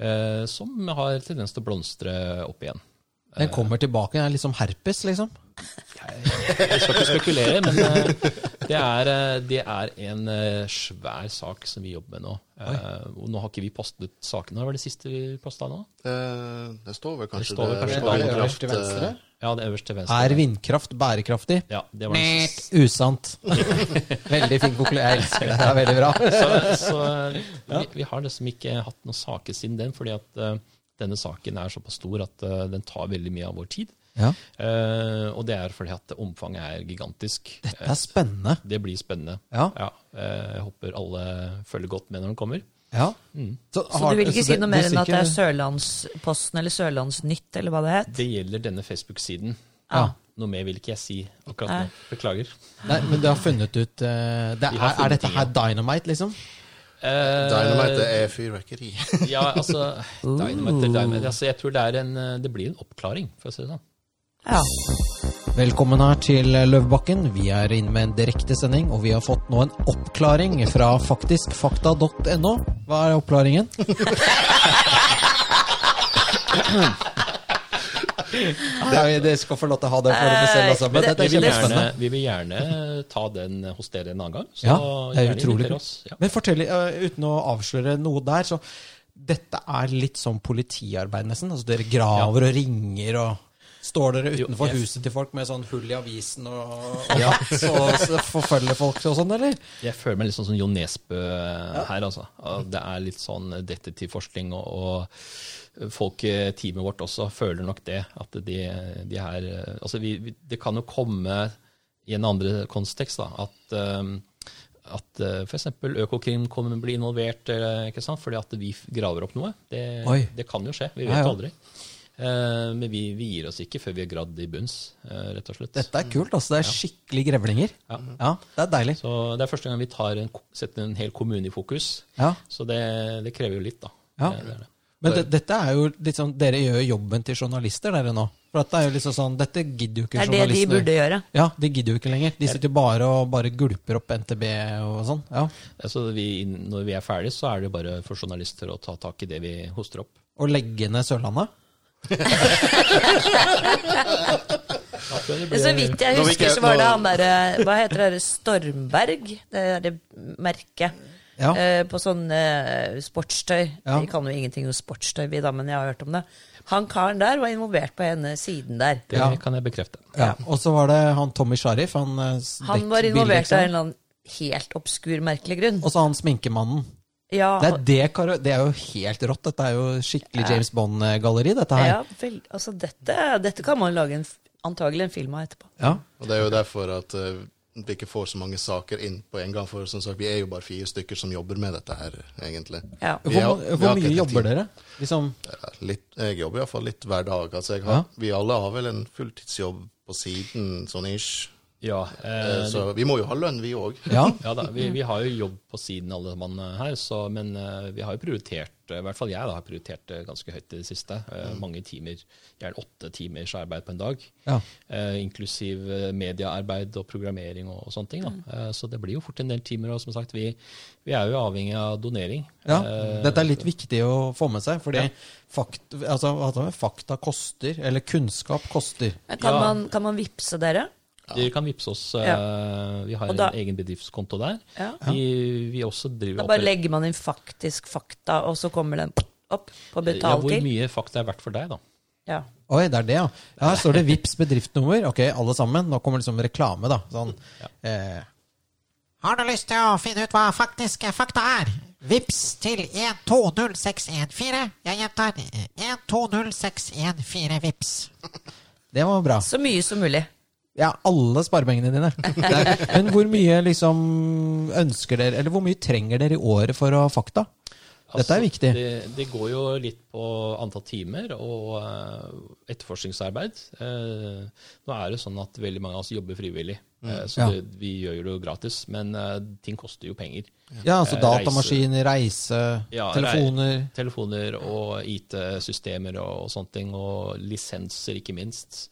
eh, som har tendens til å blomstre opp igjen.
Den kommer tilbake. Den er liksom herpes, liksom.
Jeg skal ikke spekulere, men eh, det er, eh, det er en eh, svær sak som vi jobber med nå. Eh, og nå har ikke vi postet sakene. Hva var det siste vi posta nå?
eh, Det står vel kanskje
Det står vel kanskje
Er det
Vannkraft,
øverst til venstre?
eh,
Ja, det øverst til venstre.
Er vindkraft bærekraftig?
Ja, det var den siste.
Usant. Veldig fin konklusjon. Jeg elsker det. Det er veldig bra.
Så, så vi, vi har liksom ikke hatt noen saker siden den, fordi at eh, denne saken er såpass stor at eh, den tar veldig mye av vår tid.
Ja.
Eh, og det er fordi at omfanget er gigantisk.
Det er spennende.
Eh, det blir spennende.
Ja.
eh, jeg håper alle følger godt med når den kommer. Mm.
Ja. Så,
Så
har-
du vil ikke
så
si
det-
noe mer
det
enn at det er
sikkert-
Sørlandsposten eller Sørlandsnytt, eller hva det het?
Det gjelder denne Facebook-siden. Noe mer vil ikke jeg si akkurat nå. Beklager.
Nei, men du har funnet ut eh, det er,
Vi har funnet
er dette
ting,
her dynamite, liksom?
Eh,
Dynamite det er fyrverkeri.
ja, altså,
Uh.
dynamite, dynamite. Altså, jeg tror det, er en, eh, det blir en oppklaring, for å si det sånn.
Ja.
Velkommen her til Løvbakken. Vi er inne med en direktesending, og vi har fått nå en oppklaring fra faktiskfakta.no. Hva er oppklaringen? Nei, Dere skal få lov til å ha det for dere selv, altså. Men
Det-
dette
Vi
er
Eh, vil,
kjempespennende.
gjerne, vi vil gjerne ta den hos dere en annen gang. Så
Ja, det er
gjerne
utrolig
inviter
kult.
oss. Ja.
Men fortell, eh, uten å avsløre noe der, så dette er litt som politiarbeid nesten. Altså dere graver og ringer og Står dere
Jo,
utenfor
jeg-
huset til folk med sånn hull i avisen og, og hatt, og så forfølger folk og sånn, eller?
Jeg føler meg litt sånn som Jo Nesbø her, altså. Og Det er litt sånn detektivforskning, og, og folk i teamet vårt også føler nok det. At de, de her Altså, vi, vi, det kan jo komme i en andre kontekst, da. At, um, at f.eks. Økokrim kommer til å bli involvert, eh, ikke sant? fordi at vi graver opp noe. Det,
Oi.
det kan jo skje. Vi vet
Ja, ja.
aldri. Eh, Men vi, vi gir oss ikke før vi er gradd i bunns, eh, rett og slett.
Dette er kult, altså. Det er skikkelig grevlinger. Ja, Det er deilig.
Så Det er første gang vi tar en, setter en hel kommune i fokus.
Ja.
Så det, det krever jo litt, da.
Ja.
Det, det er det.
Men det, dette er jo litt sånn, dere gjør jobben til journalister, dere nå. For dette er jo liksom sånn, dette gidder jo ikke
Det er det de
journalistene.
burde gjøre.
Ja, de gidder jo ikke lenger. De sitter jo bare og bare gulper opp NTB og sånn. Ja.
Altså, vi, når vi er ferdige, så er det bare for journalister å ta tak i det vi hoster opp.
Og legge ned Sørlandet.
Så vidt jeg
Nå vil
husker,
ikke-
så var det
nå-
han derre Hva heter det? der, Stormberg? Det derre merket.
Ja.
eh, På sånn eh, sportstøy.
Ja.
Vi kan jo ingenting om sportstøy, vi da, men jeg har hørt om det. Han karen der var involvert på ene siden der.
Det
Ja.
kan jeg bekrefte.
Ja. Og så var det han Tommy Sharif. Han, eh, s-
Han var
dekk-
involvert av en
bildeksam.
eller annen helt obskur, merkelig grunn.
Og så han sminkemannen.
Ja,
Det er, det, karo- det er jo helt rått. Dette er jo skikkelig James Bond-galleri, dette
ja
her.
vel, altså dette, dette kan man lage en, f- antagelig en film av etterpå.
Ja.
Og det er jo derfor at eh, vi ikke får så mange saker inn på en gang. For som sagt, vi er jo bare fire stykker som jobber med dette her, egentlig.
Ja.
Hvor,
Vi har-
hvor
vi har ikke
mye
helt
jobber
tid.
dere? Liksom,
Ja, Litt, jeg jobber iallfall litt hver dag. Altså jeg har,
Ja.
Vi alle har vel en fulltidsjobb på siden, sånn ish.
Ja, eh,
Eh, Så vi må jo ha lønn, vi òg.
ja.
ja da, vi, vi har jo jobb på siden alle mann her, så, men eh, vi har jo prioritert, eh, i hvert fall jeg da, har prioritert det ganske høyt i det siste. Eh,
Mm.
mange timer, gjerne åtte timers arbeid på en dag.
Ja.
Eh, inklusiv eh, mediearbeid og programmering og, og sånne ting. Da.
Mm.
Eh, så det blir jo fort en del timer. Og som sagt, vi, vi er jo avhengig av donering.
Ja,
Eh,
dette er litt viktig å få med seg, fordi fakt, altså, hva heter det? fakta koster, eller kunnskap koster.
Men Kan,
Ja.
man, kan man vippse dere?
Dere kan vippse oss. eh, Vi har
Og da-
en egen bedriftskonto der.
Ja.
Vi, vi også driver
Da bare
opp-
legger man inn faktisk fakta, og så kommer den opp på
ja,
betal
Hvor
til.
mye fakta er verdt for deg, da?
Ja.
Oi, det er det, ja. Ja, Her står det VIPS bedriftsnummer. Ok, alle sammen. Nå kommer liksom reklame, da. Sånn. Eh,
Har du lyst til å finne ut hva faktiske fakta er? Vips til 120614. Jeg gjentar eh, 120614 vips.
det var bra.
Så mye som mulig.
Ja, alle sparepengene dine. Det er- Men hvor mye liksom ønsker dere, eller hvor mye trenger dere i året for å ha fakta? Dette er
Altså,
viktig.
Det, det går jo litt på antall timer og eh, etterforskningsarbeid. Eh, nå er det sånn at veldig mange av oss jobber frivillig, eh,
Mm.
så
Ja.
det, vi gjør jo det jo gratis. Men eh, ting koster jo penger.
Ja, altså
Eh,
datamaskin, reise,
Ja,
telefoner.
rei- telefoner og IT-systemer og, og sånne ting, og lisenser ikke minst.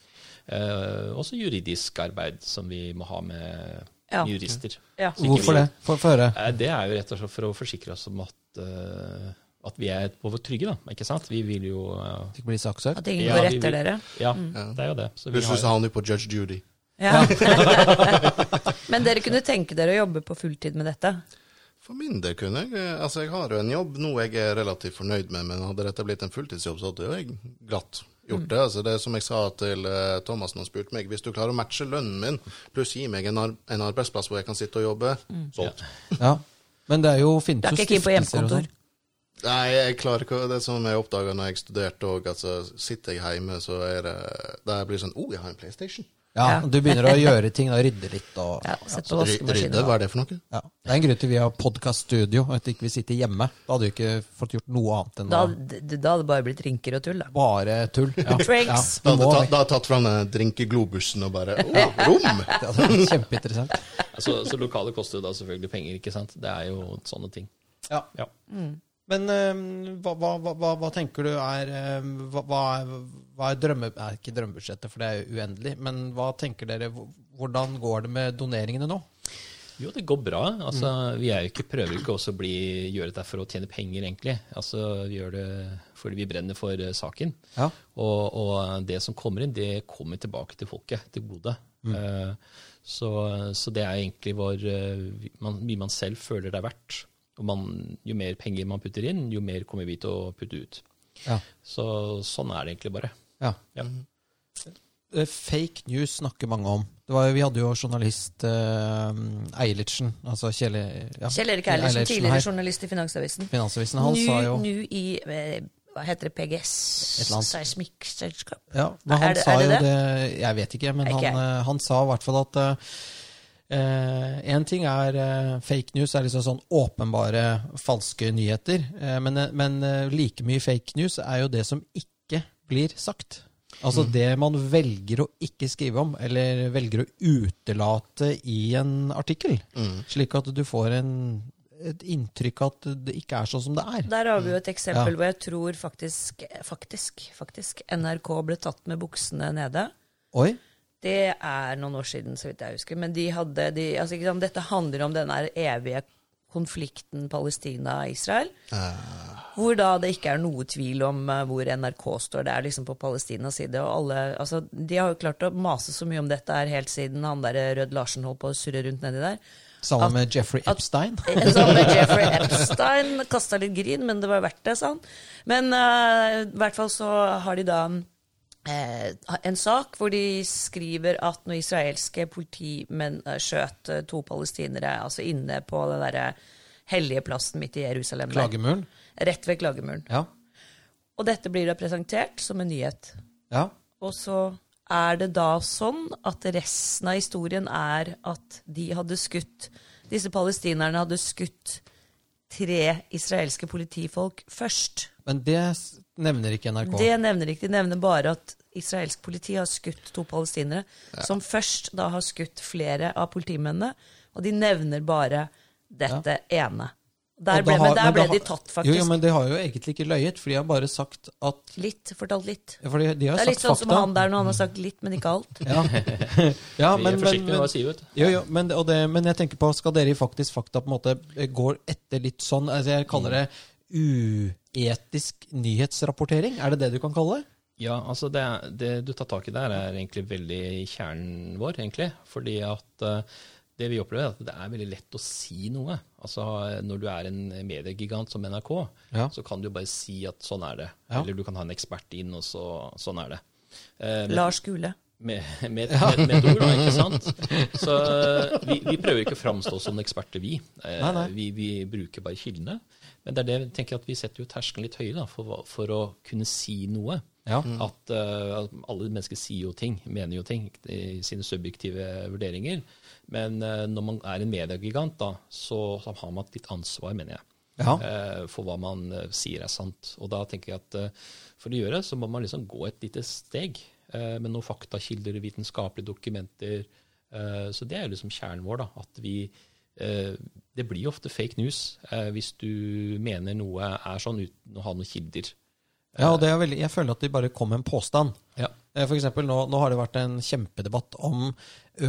Eh, også juridisk arbeid som vi må ha med
Ja.
jurister.
Ja.
Så ikke
Hvorfor
vi-
det? For, for høre.
Eh, Det er jo rett og slett for å forsikre oss om at, eh, at vi er på vår trygge, da. Ikke sant? Vi vil jo eh,
Ikke bli saksøkt.
At ingen
ja,
går
vi
etter
vil-
dere.
Ja, det er jo det. Så vi
Plutselig så
har,
havner vi på Judge Judy.
Ja. Men dere kunne tenke dere å jobbe på fulltid med dette?
For min del kunne jeg eh, Altså, jeg har jo en jobb nå jeg er relativt fornøyd med, men hadde dette blitt en fulltidsjobb, så hadde jo jeg glatt gjort det. Altså, det er som jeg sa til eh, Thomassen, han spurte meg hvis du klarer å matche lønnen min, pluss gi meg en, ar en arbeidsplass hvor jeg kan sitte og jobbe, solgt.
Ja. Men det er jo
Du
finnes
er
jo
ikke keen på
stiftelser og
hjemmekontor?
sånn.
Nei, jeg klarer ikke Det er som jeg oppdaga når jeg studerte òg, altså sitter jeg hjemme, så er det Da jeg blir sånn Å, oh, jeg har en PlayStation.
Ja,
Ja.
du begynner å gjøre ting, da, rydde litt og
Ja, altså. sett på
Ry- Rydde,
vaskemaskinen.
hva er det for noe?
Ja. Det er en grunn til vi har podkaststudio, og at ikke vi sitter hjemme. Da hadde vi ikke fått gjort noe annet enn
Da,
å
da hadde det bare blitt rynker og tull, da.
bare tull. Ja.
Pranks.
Ja, vi
Da hadde
må,
jeg tatt, da hadde jeg tatt fram den drinkeglobusen og bare Å, rom!
det hadde vært kjempeinteressant.
så, så lokalet koster jo da selvfølgelig penger, ikke sant. Det er jo sånne ting.
Ja.
Ja.
Mm.
Men eh, hva, hva, hva- hva, hva tenker du er eh, Hva, hva er- hva er drømme... Nei, ikke drømmebudsjettet, for det er jo uendelig. Men hva tenker dere, hvor- hvordan går det med doneringene nå?
Jo, det går bra. Altså, Vi er jo ikke, prøver ikke også å bli, gjøre dette for å tjene penger, egentlig. Altså, Vi gjør det fordi vi brenner for eh, saken.
Ja.
Og, og det som kommer inn, det kommer tilbake til folket, til gode.
Mm.
Eh, så, så det er egentlig hvor eh, man, mye man selv føler det er verdt. Og man, jo mer penger man putter inn, jo mer kommer vi til å putte ut.
Ja.
Så sånn er det egentlig bare.
ja.
Ja.
Eh, Fake news snakker mange om. Det var, jo- vi hadde jo journalist eh, Eilertsen. Altså Kjell, ja,
Kjell Erik Eilertsen,
her.
tidligere journalist i Finansavisen.
Finansavisen, han sa jo
Nå nå i eh, Hva heter det? PGS?
Et eller annet.
Seismikkselskap?
ja, men
Er
han
det-
sa
er det
jo
det?
det Jeg vet ikke, men
Ikke
han,
jeg.
eh, han sa i hvert fall at én ting er eh, fake news, er liksom sånn åpenbare falske nyheter. eh, men eh, men eh, like mye fake news er jo det som ikke blir sagt. Altså
Mm.
det man velger å ikke skrive om, eller
Mm.
velger å utelate i en artikkel. Slik at du får en et inntrykk at det ikke er sånn som det er.
Der har vi jo et
Ja.
eksempel hvor jeg tror faktisk, faktisk, faktisk NRK ble tatt med buksene nede.
Oi.
Det er noen år siden, så vidt jeg husker. Men de hadde de, altså, ikke sant, Dette handler om denne evige konflikten Palestina-Israel. Hvor da det ikke er noe tvil om eh, hvor NRK står. Det er liksom på Palestinas side. Og alle, altså, de har jo klart å mase så mye om dette her helt siden han der Rød Larsen holdt på å surre rundt nedi der.
Sammen med Jeffrey
at-
Epstein.
Sammen sånn med Jeffrey Epstein. Kasta litt grin, men det var verdt det, sa han. Men eh, i hvert fall så har de da eh, en sak hvor de skriver at når israelske politimenn eh, skjøt eh, to palestinere altså inne på den derre hellige plassen midt i Jerusalem der.
Klagemuren.
Rett ved Klagemuren.
Ja.
Og dette blir da presentert som en nyhet.
ja.
Og så er det da sånn at resten av historien er at de hadde skutt Disse palestinerne hadde skutt tre israelske politifolk først.
Men det s- nevner ikke NRK.
Det nevner de ikke. De nevner bare at israelsk politi har skutt to palestinere, som først da har skutt flere av politimennene. Og de nevner bare dette ene.
Og da
Der ble,
har-
men der ble
da
de
har-
tatt, faktisk.
Jo, jo, men de har jo egentlig ikke løyet, for de har bare sagt at
Litt. Fortalt litt.
For de, de har
Det er
sagt
litt sånn
fakta.
som han der nå, han har sagt litt, men ikke alt.
Ja,
Vi
men,
er
men,
forsiktige med
men,
hva vi sier, vet du.
jo, jo, men, og det, men jeg tenker på, skal dere i Faktisk fakta på en måte eh, går etter litt sånn altså Jeg kaller det uetisk nyhetsrapportering. Er det det du kan kalle det?
Ja, altså det, det du tar tak i der, er egentlig veldig i kjernen vår, egentlig. Fordi at eh, det vi opplever, er at det er veldig lett å si noe. Altså Når du er en mediegigant som NRK,
Ja.
så kan du bare si at sånn er det.
Ja.
Eller du kan ha en ekspert inn, og så sånn er det. Eh, men-
Lars Gule.
med, med, med, med et ord, da, ikke sant? Så eh, vi, vi prøver ikke å framstå som eksperter, vi. Eh,
Nei, nei.
vi. Vi bruker bare kildene. Men det er det jeg tenker at vi setter jo terskelen litt høyere da, for, hva- for å kunne si noe.
Ja.
At eh, at alle mennesker sier jo ting, mener jo ting i sine subjektive vurderinger. Men eh, når man er en mediegigant, da, så, så har man et litt ansvar, mener jeg
Ja.
eh, for hva man eh, sier er sant. Og da tenker jeg at eh, for å gjøre det, så må man liksom gå et lite steg eh, med noen faktakilder, vitenskapelige dokumenter. Eh, så det er jo liksom kjernen vår, da. At vi eh, Det blir jo ofte fake news eh, hvis du mener noe er sånn uten å ha noen kilder.
Ja, og det er veldig, Jeg føler at de bare kom med en påstand.
Ja.
Eh, For eksempel, nå, nå har det vært en kjempedebatt om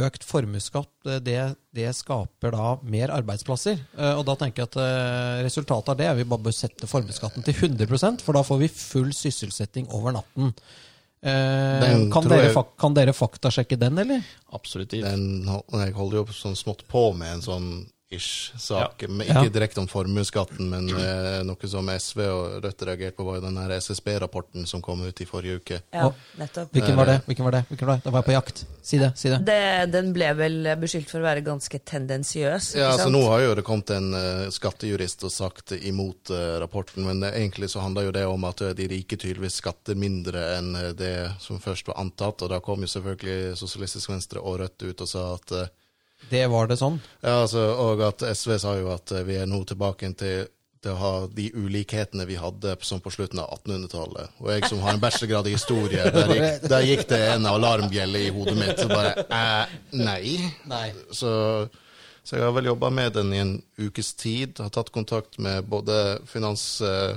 økt formuesskatt. Eh, Det, det skaper da mer arbeidsplasser. Eh, Og da tenker jeg at eh, resultatet av det er vi bare bør sette formuesskatten til 100 for da får vi full sysselsetting over natten. Eh,
Den
kan,
tror
dere,
jeg-
fak- kan dere faktasjekke den, eller?
Absolutt.
Den, hol- jeg holder jo sånn smått på med en sånn ish-sak. men Ikke
Ja.
direkte om formuesskatten, men eh, noe som SV og Rødt reagerte på, var jo den her SSB-rapporten som kom ut i forrige uke.
Ja, nettopp.
Hvilken var det? Hvilken var det? Hvilken var det? Da var jeg på jakt. Si det. si det.
Det, den ble vel beskyldt for å være ganske tendensiøs. ikke
Ja, altså
sant?
Nå har jo det kommet en eh, skattejurist og sagt imot eh, rapporten, men eh, egentlig så handler jo det om at eh, de rike tydeligvis skatter mindre enn eh, det som først var antatt, og da kom jo selvfølgelig Sosialistisk Venstre og Rødt ut og sa at eh,
Det var det sånn.
ja, altså, Og at SV sa jo at eh, vi er nå tilbake til til å ha de ulikhetene vi hadde som på slutten av 1800-tallet. Og jeg som har en bachelorgrad i historie, der gikk, der gikk det en alarmbjelle i hodet mitt. Så bare eh, nei.
Nei.
Så, så jeg har vel jobba med den i en ukes tid. Har tatt kontakt med både finans, eh,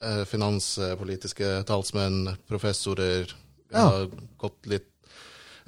eh, finanspolitiske talsmenn, professorer. Jeg
Ja.
har gått litt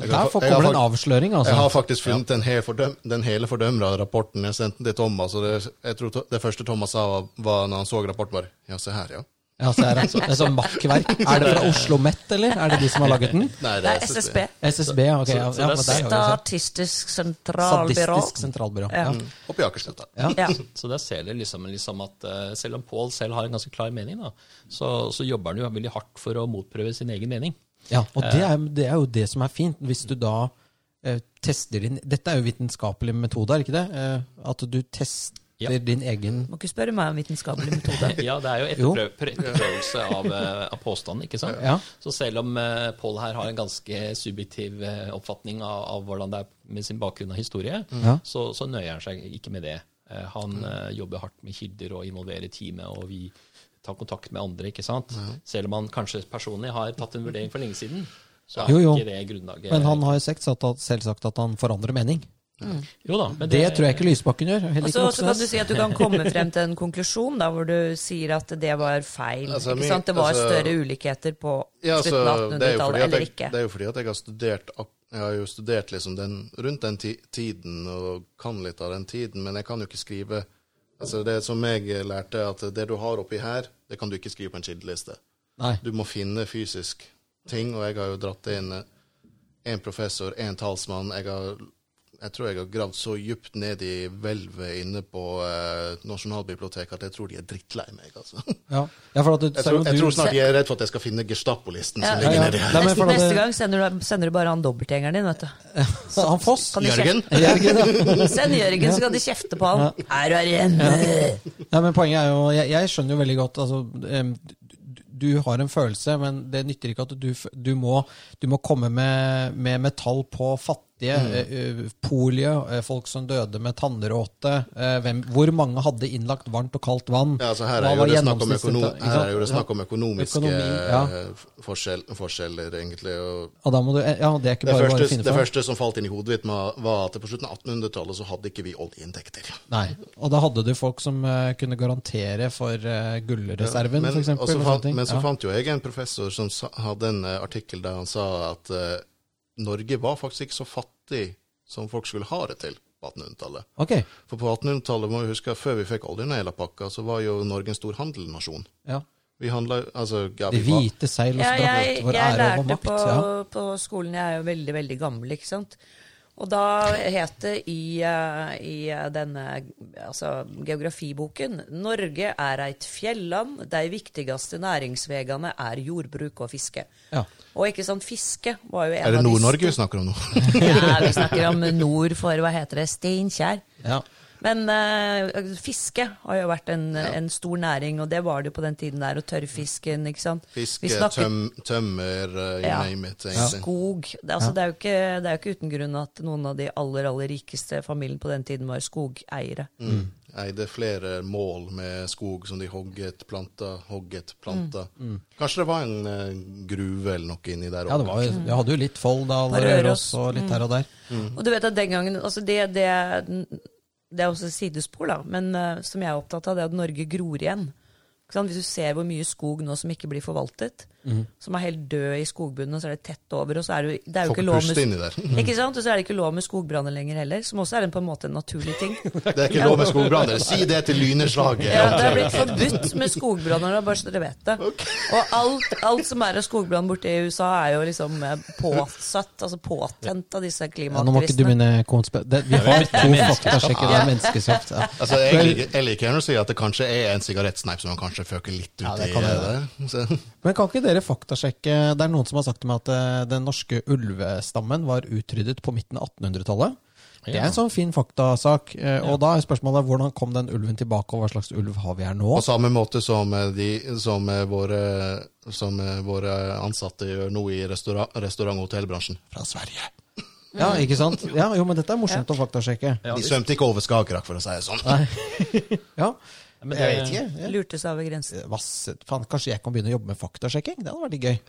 jeg
Der
har fa-
får
jeg har
kommer det
fakt-
en avsløring,
Jeg har
altså.
faktisk funnet den, hel fordøm, den hele fordømra rapporten. Jeg sendte den til Thomas, og det, jeg tror to- det første Thomas sa, var, var når han så rapporten, bare Ja, se her, ja.
Ja, så er det, det er sånn makkverk. Er det fra Oslo Met, eller? Er det de som har laget den?
Nei, altså-
Det er SSB.
SSB, ja, ok.
Så-
ja,
så
ja,
det er
men der har vi det.
Statistisk sentralbyrå.
Sadistisk sentralbyrå.
Ja.
Ja.
Oppe i Akerselva.
Ja.
Så der ser dere liksom, liksom at eh, selv om Pål selv har en ganske klar mening, da, så, så jobber han jo veldig hardt for å motprøve sin egen mening.
Ja, og det
Eh.
er, det er jo det som er fint, hvis du da eh, tester din Dette er jo vitenskapelig metode, er det ikke det? Eh, at du tester
Ja.
din egen
Må ikke spørre meg om vitenskapelig metode.
Ja, det er jo
Jo.
etterprøv, pr- etterprøvelse av, eh, av påstanden, ikke sant?
Ja.
Så selv om uh, Pål her har en ganske subjektiv eh, oppfatning av, av hvordan det er med sin bakgrunn av historie,
Mm. Ja. Mm.
så, så nøyer han seg ikke med det. Eh, han eh, jobber hardt med kilder og involverer teamet, og vi tar kontakt med andre, ikke sant?
Mm.
Selv om han kanskje personlig har tatt en vurdering for lenge siden, så er
Jo, jo.
ikke det grunnlaget.
Men han har jo sagt at, selvsagt at han forandrer mening.
Jo da, men
Det tror jeg ikke Lysbakken gjør. heller
Og
ikke
Altså, så så kan du
Moxnes.
si at du kan komme frem til en konklusjon da, hvor du sier at det var feil.
Altså,
ikke
my-
sant? Det var
altså-
større ulikheter på
Ja, altså,
slutten av
det, er jo
1800-tallet
fordi at
eller
jeg,
ikke.
det er jo fordi at jeg har studert ak- jeg har jo studert liksom den, rundt den ti tiden og kan litt av den tiden, men jeg kan jo ikke skrive altså Det som jeg lærte, at det du har oppi her, det kan du ikke skrive på en kildeliste.
Nei.
Du må finne fysisk ting, og jeg har jo dratt inn én professor, én talsmann. Jeg, har, jeg tror jeg har gravd så djupt ned i hvelvet inne på eh, Nasjonalbiblioteket at jeg tror de er drittlei meg, altså.
Ja, ja for at du,
Jeg
selv
tror,
om
jeg
du-
tror snart de er redd for at jeg skal finne Gestapo-listen
Ja.
som
Ja,
ligger
ja.
nedi her.
Nei, men
Neste,
for at
neste
det-
gang sender du, sender du bare han dobbeltgjengeren din, vet du.
Han Foss.
Kan de
Jørgen?
kjefte- Send Jørgen, så kan de kjefte på han. Her er en
Nei, men poenget er jo Jeg, jeg skjønner jo veldig godt altså, em, du, du har en følelse, men det nytter ikke at du, f- du, må, du må komme med, med, med tall på fattige,
Mm.
eh, eh, polio, eh, folk som døde med tannråte eh, hvem, Hvor mange hadde innlagt varmt og kaldt vann?
Ja, altså her,
Hva
er jo
var
det snakk om
gjennomsnittstilta-
økono
ikke
her
sant?
er jo det snakk om økonomiske
Økonomi, ja.
eh, forskjell forskjeller, egentlig. Og
Ja, og da må du, eh, ja, det er ikke
det,
bare bare å
første,
finne
det
fram.
første som falt inn i hodet mitt, ma- var at på slutten av 1800-tallet så hadde ikke vi oljeinntekter.
Nei. Og da hadde du folk som eh, kunne garantere for eh, gullreserven,
Men,
for eksempel.
og så
og sånne
fant,
ting.
men så
Ja.
fant jo jeg en professor som sa, hadde en eh, artikkel der han sa at eh, Norge var faktisk ikke så fattig som folk skulle ha det til på 1800-tallet.
Ok.
For på 1800-tallet må vi huske at før vi fikk oljen og hele pakka, så var jo Norge en stor handelnasjon.
Ja.
Vi handla altså, ja,
De
vi var-
hvite seil og
Ja, jeg,
strømmet vår
jeg
ære over
lærte
makt.
på,
ja.
på skolen, jeg er jo veldig, veldig gammel, ikke sant. Og da het det i, eh, i eh, denne altså, geografiboken Norge er eit fjelland, dei viktigaste næringsvegane er jordbruk og fiske.
Ja.
Og ikke sant, fiske var jo en
Er det
av de
Nord-Norge vi snakker om nå?
sto- Ja, vi snakker om nord for, hva heter det, Steinkjer.
Ja.
Men eh, fiske har jo vært en, en stor næring, og det var det jo på den tiden der, og tørrfisken, ikke sant. Vi
Fiske,
snakker-
tøm, tømmer, eh, you
Ja.
name it. egentlig.
Skog. Det, er- altså, det, er jo ikke, det er jo ikke uten grunn at noen av de aller aller rikeste familiene på den tiden var skogeiere.
Mm.
Mm. Eide flere mål med skog som de hogget, planta, hogget, planta. Kanskje det var en eh, gruve eller noe inni der
Mm. Ja, det
også.
var, jo- jeg hadde jo litt Folldal og Røros
Røros,
og litt her og der.
Og du vet at den gangen altså det, det, det er også et sidespor, da, men eh, som jeg er opptatt av, det er at Norge gror igjen. Ikke sant? Hvis du ser hvor mye skog nå som ikke blir forvaltet, som er helt død i skogbunnen, og så er det tett over, og så er det, jo- det er jo
Får
ikke
ikke
lov
puste
med
inni der.
Ikke sant? Og så er det ikke lov med skogbranner lenger heller, som også er en, på en måte en naturlig ting.
Det er ikke lov med skogbranner. Si det til lyneslaget.
Ja, det er blitt forbudt med skogbranner, bare så dere vet det. Og alt, alt som er av skogbrann borte i USA, er jo liksom eh, påsatt, altså påtent av disse
Ja, nå må ikke du
klimaaktivistene.
begynne konspe... Det, vi har to faktasjekker, det er menneskeskapt. Ja.
Altså, jeg, liker- jeg liker gjerne å si at det kanskje er en sigarettsneip som man kanskje føker litt ut
Ja, det
i.
kan
eh, Så.
Men kan ikke dere faktasjekke Det er noen som har sagt til meg at eh, den norske ulvestammen var utryddet på midten av 1800-tallet. Det er en sånn fin faktasak. eh, Og da er spørsmålet hvordan kom den ulven tilbake, og hva slags ulv har vi her nå?
På samme måte som, eh, de, som, eh, våre, som eh, våre ansatte gjør nå i restaura restaurant- og hotellbransjen fra Sverige.
Ja, ikke sant? Ja, jo, men dette er morsomt å faktasjekke.
Ja,
De
visst.
svømte ikke over Skagerrak, for å si det sånn.
Ja, jeg
Men det-
vet ikke. Ja.
Lurtes over grensen.
Vass- Faen, kanskje jeg kan begynne å jobbe med faktasjekking? Det hadde vært litt gøy.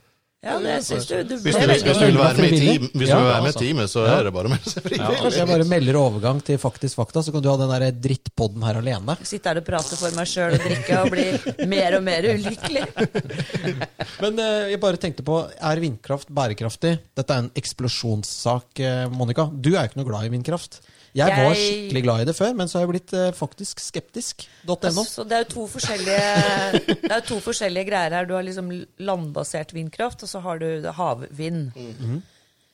Ja, det syns du. du
Hvis du,
det
hvis
er
du
veldig-
vil være med i team, hvis du
Ja,
vil være med i
altså.
teamet, så er det bare å melde seg
Kanskje jeg
frivillig.
bare melder overgang til Faktisk fakta, så kan du ha den der drittpodden her alene.
Sitte her og prate for meg sjøl og drikke og bli mer og mer ulykkelig.
Men eh, jeg bare tenkte på, er vindkraft bærekraftig? Dette er en eksplosjonssak, eh, Monica. Du er jo ikke noe glad i vindkraft. Jeg, var
Jeg-
skikkelig glad i det før, men så har jeg blitt eh, faktisk skeptisk.no.
Så det er jo to forskjellige, det er jo to forskjellige greier her. Du har liksom landbasert vindkraft, og så har du havvind.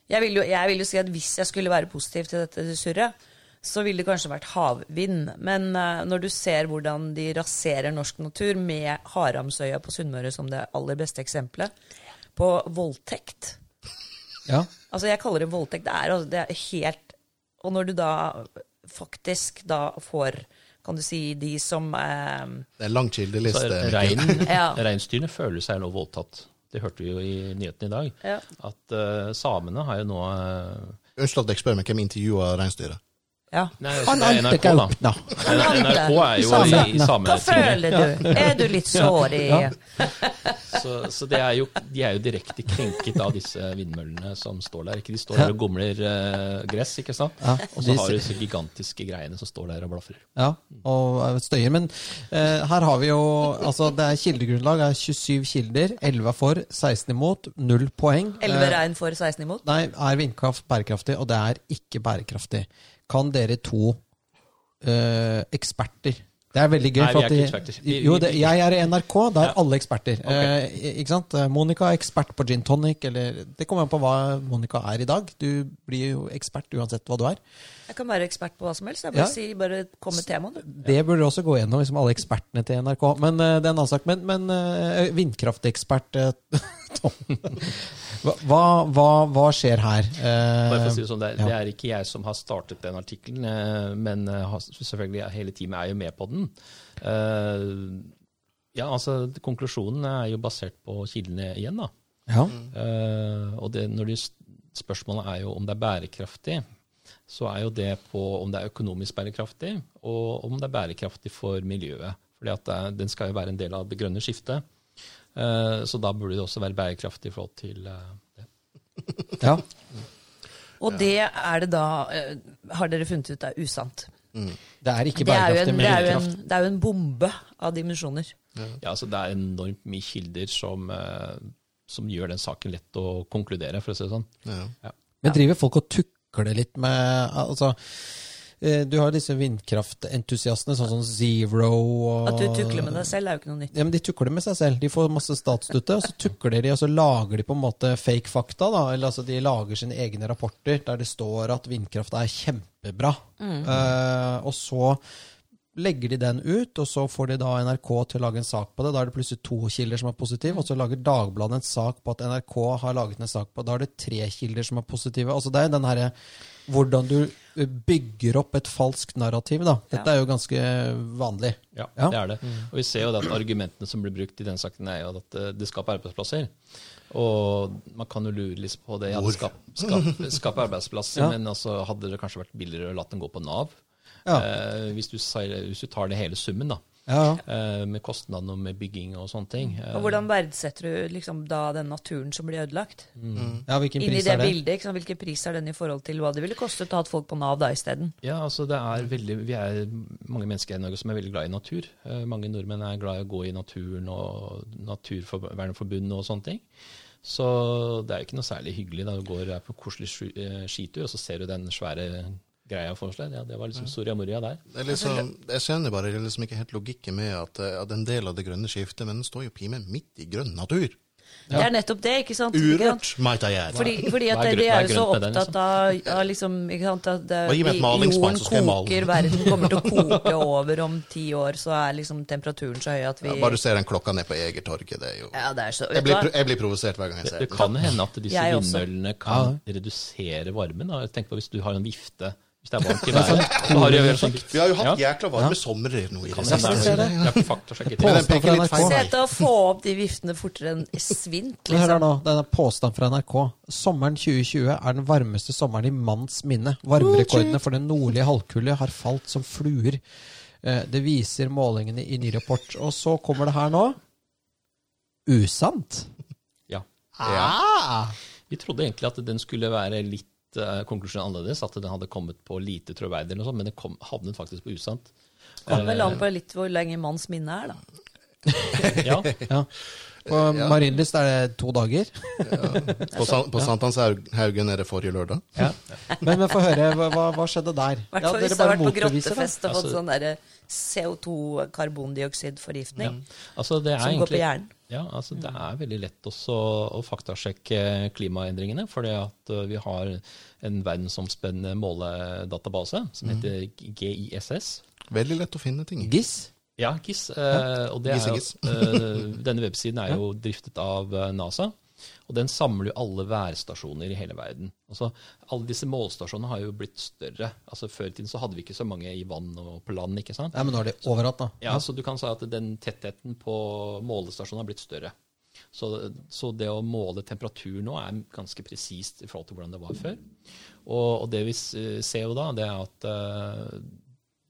Jeg, vil jo, jeg vil jo si at hvis jeg skulle være positiv til dette surret, så ville det kanskje vært havvind. Men eh, når du ser hvordan de raserer norsk natur med Haramsøya på Sunnmøre som det aller beste eksempelet, på voldtekt
Ja.
Altså, jeg kaller det voldtekt. Det er, altså, det er helt Og når du da faktisk da får, kan du si, de som eh,
Det er en lang kildeliste.
Så er
Mikkel.
rein-
Ja.
Reinsdyrene føler seg nå voldtatt. Det hørte vi jo i nyheten i dag.
Ja.
At eh, samene har jo nå eh,
Unnskyld at jeg spør, men hvem intervjua reinsdyret?
Ja.
Nei, altså,
Han
det er
ante
NRK, da.
gaupna.
Nei, NRK er jo i, i
Hva
sametinget.
føler du? Er du litt sår i
Så, så det er jo, de er jo direkte krenket av disse vindmøllene som står der. Ikke de står der og gomler eh, gress, ikke sant?
Ja,
Og
de
så har
ser-
du disse gigantiske greiene som står der og blafrer.
Ja, og eh, støyer. Men eh, her har vi jo Altså, det er kildegrunnlag. Det er 27 kilder. 11 er for, 16 imot. Null poeng. Eh,
11 regn for 16 imot?
Nei, er vindkraft bærekraftig? Og det er ikke bærekraftig. Kan dere to eh, eksperter det er veldig gøy.
Nei, vi
for
er
at
ikke
de-
eksperter. Vi-
jo,
vi-
det, jeg er i NRK, der er alle eksperter. Eh, ikke sant? Eh, Monica er ekspert på gin tonic, eller Det kommer an på hva Monica er i dag. Du blir jo ekspert uansett hva du er.
Jeg kan være ekspert på hva som helst. Jeg
Ja.
bare, sier, bare kom med temaet, du.
Det burde også gå gjennom liksom, alle ekspertene til NRK. Men eh, det er en annen sak. Men, men eh, vindkraftekspert eh, Tom, hva, hva- hva, hva skjer her? Eh,
Bare for å si det sånn, det, er-
ja.
det er ikke jeg som har startet den artikkelen, eh, men eh, har- selvfølgelig er- hele teamet er jo med på den. Eh, ja, altså Konklusjonen er jo basert på kildene igjen, da.
ja.
Eh, og det, når du, spørsmålet er jo om det er bærekraftig, så er jo det på om det er økonomisk bærekraftig, og om det er bærekraftig for miljøet. Fordi at det, er- den skal jo være en del av det grønne skiftet. Eh, så da burde det også være bærekraftig i forhold til eh, det.
ja.
Og det er det da eh, Har dere funnet ut det er usant?
Det er ikke
Det er jo
bærekraftig
en,
med
det er jo
vindkraft.
en, det er jo en bombe av dimensjoner.
Ja, altså det er enormt mye kilder som, eh, som gjør den saken lett å konkludere, for å si det sånn.
Ja.
Men driver folk og tukler litt med altså, eh, Du har disse vindkraftentusiastene, sånn som Zero og
At du tukler med deg selv, er jo ikke noe nytt.
Ja, men De tukler med seg selv. De får masse statsstøtte, og så tukler de, og så lager de på en måte fake fakta. da, eller altså De lager sine egne rapporter der det står at vindkraft er kjempebra. Eh, og så legger de den ut, og så får de da NRK til å lage en sak på det. Da er det plutselig to kilder som er positive, og så lager Dagbladet en sak på at NRK har laget en sak på Da er det tre kilder som er positive. altså Det er den herre hvordan du eh, bygger opp et falskt narrativ, da. Dette er jo ganske vanlig.
Ja,
Ja.
det er det.
Mm.
Og vi ser jo det at argumentene som blir brukt i den saken, er jo at eh, det skaper arbeidsplasser. Og man kan jo lure litt på det. Ja, det skap, skap, skaper arbeidsplasser,
Ja.
men altså, hadde det kanskje vært billigere å la den gå på Nav?
Ja.
Eh, hvis, du, sier- hvis du tar det hele summen, da.
Ja, ja.
Eh, med kostnadene og med bygging og sånne ting. Eh,
Og hvordan verdsetter du liksom da den naturen som blir ødelagt?
Ja, hvilken
Inn i
pris
det
er det?
bildet, ikke sant? Hvilken pris er den i forhold til hva det ville kostet å ha folk på Nav da isteden?
Ja, altså det er veldig, Vi er mange mennesker i Norge som er veldig glad i natur. Eh, mange nordmenn er glad i å gå i naturen og Naturvernforbundet og sånne ting. Så det er jo ikke noe særlig hyggelig da du går er på en koselig sky- eh, skitur, og så ser du den svære greia foran deg. Ja, det var liksom Soria Moria der.
Det er liksom, jeg skjønner bare liksom ikke helt logikken med at, eh, at en del av det grønne skiftet, men den står jo pimen midt i grønn natur.
Det er nettopp det, ikke sant? Ikke sant?
Urørt, might I add.
Fordi, fordi at
Hva er grønt-
de
hva
er
er
jo så
grønt med den,
opptatt av, av liksom, ikke sant, at det,
Bare gi meg et
i-
malingsspann, så skal jeg
jorden
male
koker,
den.
verden kommer til å koke over om ti år, så er liksom temperaturen så høy at vi
Ja, bare du ser den klokka ned på Egertorget, det er jo
Ja, det er så
jeg
vet du
blir,
hva?
pro- jeg blir provosert hver gang jeg ser
Det
den.
kan hende at disse
Jeg også.
vindmøllene kan redusere varmen. Da. Tenk på hvis du har en vifte, hvis det er varmt i været. så har du jo helt sikkert-
Vi har jo hatt
Ja.
jækla varme somre nå i det
Kan
siste.
hende det er- Jeg har ikke
Men
faktasjekket det.
den peker
Påstand
litt
fra
feil vei.
Se til å få opp de viftene fortere enn svint,
Men Hør her
liksom.
nå, det er en påstand fra NRK. Sommeren 2020 er den varmeste sommeren i manns minne. Varmerekordene for den nordlige halvkulde har falt som fluer. Eh, Det viser målingene i ny rapport. Og så kommer det her nå. Usant.
Ja. Vi trodde egentlig at den skulle være litt eh, konklusjonen annerledes, at den hadde kommet på lite troverdig, eller noe sånt, men den kom, havnet faktisk på usant.
Kommer vel an på litt hvor lenge manns minne er, da.
Ja,
Ja. På Marienlyst er det to dager.
På, San- på Sankthanshaugen er det forrige lørdag.
Men vi får høre, hva- hva, hva skjedde der?
I hvert fall
dere
hvis det har
bare
vært på
motbeviser, da.
grottefest og fått
Altså-
sånn derre CO2-karbondioksidforgiftning.
altså det er
Som går på
egentlig,
hjernen. Mm.
Ja, altså det er veldig lett også å faktasjekke klimaendringene, fordi at eh, vi har en verdensomspennende måledatabase som
Mm.
heter GISS.
Veldig lett å finne ting i.
Giss?
Ja, GIS. eh, og det
GIS
er
og
jo, eh, denne websiden er jo driftet av eh, NASA. Og den samler jo alle værstasjoner i hele verden. Altså, alle disse målstasjonene har jo blitt større. Altså, Før i tiden så hadde vi ikke så mange i vann og på land. ikke sant?
Nei, men nå er det overalt, da.
Ja, Så du kan si at den tettheten på målestasjonen har blitt større. Så, så det å måle temperatur nå er ganske presist i forhold til hvordan det var før. Og, og det vi s- eh, ser jo da, det er at eh,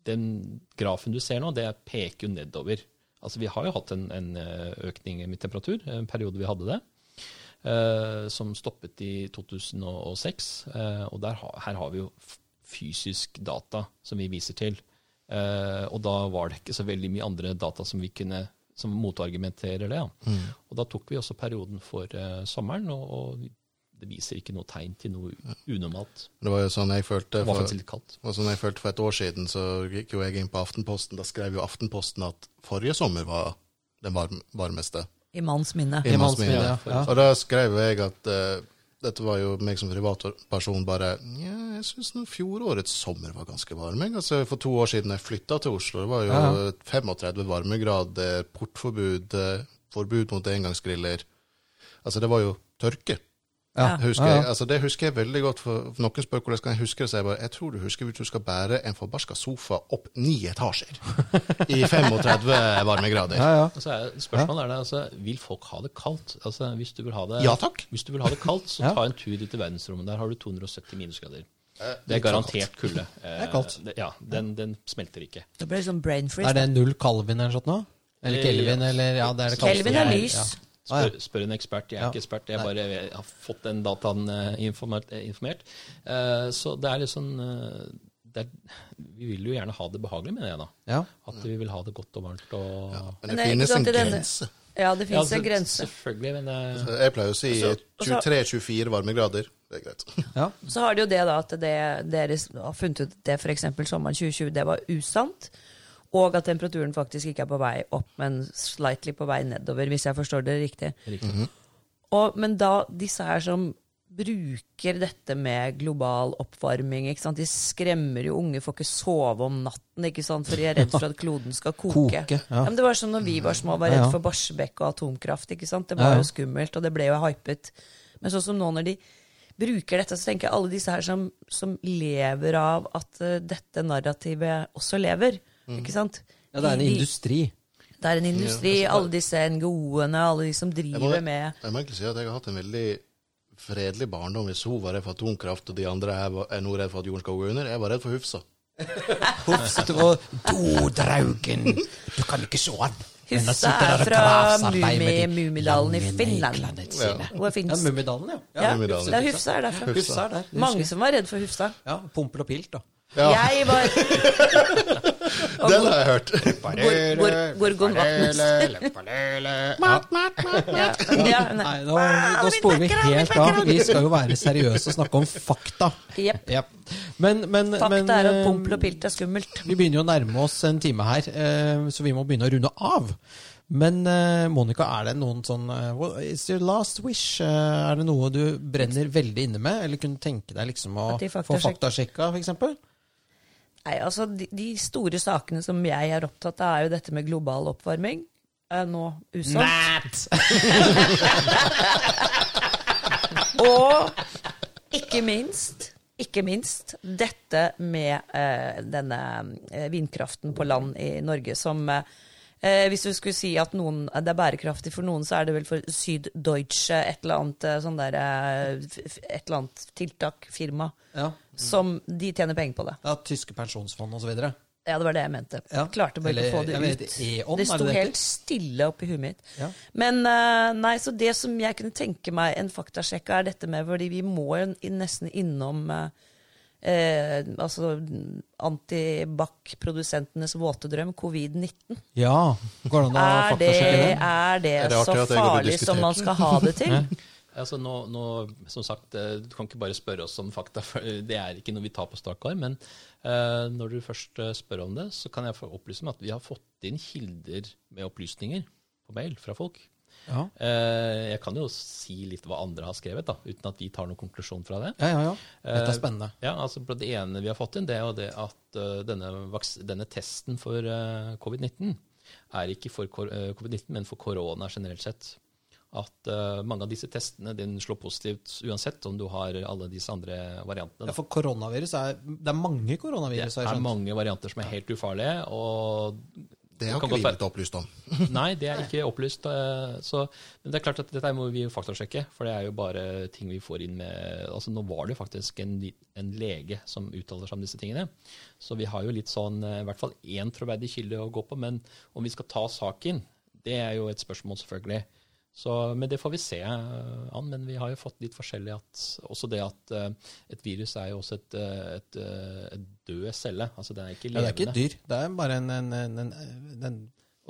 den grafen du ser nå, det peker jo nedover. Altså vi har jo hatt en, en eh, økning i temperatur, en periode vi hadde det, eh, som stoppet i 2006. eh, og der, ha- her har vi jo f- fysisk data som vi viser til. Eh, og da var det ikke så veldig mye andre data som vi kunne som motargumenterer det. Da. Og da tok vi også perioden for eh, sommeren, og, og det viser ikke noe tegn til noe u- unormalt.
Det var jo sånn jeg følte
Det var
for,
faktisk litt kaldt.
det var sånn jeg følte for et år siden, så gikk jo jeg inn på Aftenposten. Da skrev jo Aftenposten at forrige sommer var den varm, varmeste.
I manns minne.
I manns minne,
ja.
ja.
Og da skrev jeg at eh, dette var jo meg som privatperson bare ja, Jeg syns fjorårets sommer var ganske varm. jeg». Altså, for to år siden jeg flytta til Oslo, det var jo
Ja,
35 varmegrader, portforbud, eh, forbud mot engangsgriller. Altså, det var jo tørke.
Ja.
Husker
Ja, ja.
Jeg, altså det husker jeg veldig godt. For for Noen spør hvordan kan jeg huske det, så jeg bare Jeg tror du husker hvis du skal bære en forbarska sofa opp ni etasjer i 35 varmegrader.
Ja, ja.
Og så er spørsmålet er det, altså, vil folk ha det kaldt? Altså, hvis du vil ha det,
Ja, takk.
Hvis du vil ha det kaldt, så
Ja.
ta en tur ut i verdensrommet. Der har du 270 minusgrader. Det
litt
er
for
garantert kulde. Eh,
Det er kaldt.
Ja, den, den smelter ikke.
Det ble liksom brain freeze.
Er det null Calvin eller sånt nå? Eller
Eh,
Kelvin,
ja.
eller ja, det er det
da. Kelvin er lys.
Ah, ja.
Spør, spør en ekspert. Jeg er
Ja.
ikke ekspert. Jeg bare har fått den dataen eh, informert. eh, informert. Eh, Så det er litt sånn eh, det er, Vi vil jo gjerne ha det behagelig, mener jeg da.
Ja.
At vi vil ha det godt og varmt og
Men det
Men det er ikke
finnes en
sant i denne-
grense.
Ja, det fins
Ja,
en
så-
grense.
Selvfølgelig, men eh,
Jeg pleier å si
Og så- og så-
23-24 varmegrader. Det er greit.
Ja.
Så har de jo det da at det, dere har funnet ut at det f.eks. sommeren 2020 det var usant. Og at temperaturen faktisk ikke er på vei opp, men slightly på vei nedover, hvis jeg forstår det riktig.
Riktig.
Og, men da disse her som bruker dette med global oppvarming, ikke sant? de skremmer jo unge, får ikke sove om natten, ikke sant? for de er redd for at kloden skal koke.
Koke, ja.
men det var sånn når vi var små, var
Ja,
redd
ja.
for Barsebäck og atomkraft. ikke sant? Det
Ja,
var
ja.
jo skummelt, og det ble jo hypet. Men sånn som nå når de bruker dette, så tenker jeg alle disse her som, som lever av at eh, dette narrativet også lever. ikke sant?
ja, det er en
De- de-
industri.
Det er en industri. Alle disse NGO-ene, alle de som
Jeg må,
driver med
jeg må egentlig si at jeg har hatt en veldig fredelig barndom. Hvis hun var redd for atomkraft, og de andre her var- er nå redd for at jorden skal gå under, jeg var redd for Hufsa.
Hufset og
Dodraugen, du kan ikke se han.
Hufsa
Hun
er
sitter der og
fra
graser deg med de
Mumi- Mumidalen i
lange
Finland.
neglene
Ja.
sine.
Hvor
ja,
finnes
Mummidalen, ja. ja.
Ja,
Mummidalen.
Hufsa, Hufsa er derfra.
Hufsa er der. det
Mange
husker jeg.
som var redd for Hufsa.
Ja, Pompel og pilt, da.
Ja,
Jeg var
den har jeg hørt.
Gor- Gor- Gorgon Vatnes.
Mat, mat, mat.
Ja, ja, nei.
Nei, nå,
Ah,
nå sporer vi helt av. Vi skal jo være seriøse og snakke om fakta.
Jepp.
Ja. Men, men, men
Fakta er at
eh,
pompel og pilt er skummelt.
Vi begynner jo å nærme oss en time her, eh, så vi må begynne å runde av. Men eh, Monica, er det noen sånn eh, what is your last wish? Eh, Er det noe du brenner veldig inne med, eller kunne tenke deg liksom å
At de
få
faktasjek-
faktasjekka, f.eks.?
Nei, altså, de, de store sakene som jeg er opptatt av, er jo dette med global oppvarming. Er nå usant. Og ikke minst ikke minst dette med eh, denne eh, vindkraften på land i Norge som eh, eh, Hvis du skulle si at noen, det er bærekraftig for noen, så er det vel for Süddeutsche et eller annet eh, sånn der, eh, f- f- et eller annet tiltak, firma,
Ja.
som de tjener penger på det.
ja, tyske pensjonsfond osv.
Ja, det var det jeg mente.
Ja.
Klarte bare
Eller,
ikke å få det
jeg vet,
ut.
E.ON,
det
er
sto
det det
helt stille oppi huet mitt.
Ja.
Men eh, nei, så det som jeg kunne tenke meg en faktasjekk er dette med, fordi vi må jo i- nesten innom eh, eh, altså antibac-produsentenes våte drøm, covid-19.
Ja, går det an å
Er det,
faktasjekke den?
er det,
Er det
så
artig at jeg går og
farlig som
diskuterer
man skal ha det til?
Altså nå, nå, som sagt, eh, Du kan ikke bare spørre oss om fakta, for det er ikke noe vi tar på strak arm. Men eh, når du først eh, spør om det, så kan jeg få opplyse om at vi har fått inn kilder med opplysninger på mail fra folk.
Ja.
Eh, jeg kan jo si litt hva andre har skrevet, da, uten at vi tar noen konklusjon fra det.
ja, ja, Eh, ja. Dette er spennende.
Ja, altså på Det ene vi har fått inn, det er jo det at eh, denne, vaks denne testen for eh, covid-19 er ikke for kor- eh, covid-19, men for korona generelt sett. At eh, mange av disse testene den slår positivt uansett om du har alle disse andre variantene.
Ja,
da.
for koronavirus er Det er mange
Det
koronavirus, har jeg
er
skjønt.
mange varianter som er helt ufarlige, og
Det har
kan
ikke vi
godt være-
blitt opplyst om.
Nei, det er ikke opplyst. eh, Så, men det er klart at dette må vi jo faktasjekke, for det er jo bare ting vi får inn med altså Nå var det jo faktisk en, li- en lege som uttaler seg om disse tingene, så vi har jo litt sånn eh, i hvert fall én troverdig kilde å gå på. Men om vi skal ta saken, det er jo et spørsmål, selvfølgelig. Så, men det får vi se eh, an. Men vi har jo fått litt forskjellig at også det at eh, et virus er jo også et, eh, et, eh, et død celle. Altså den er ikke
Ja, det er ikke et
levende.
dyr. Det er bare en, en, en, en, en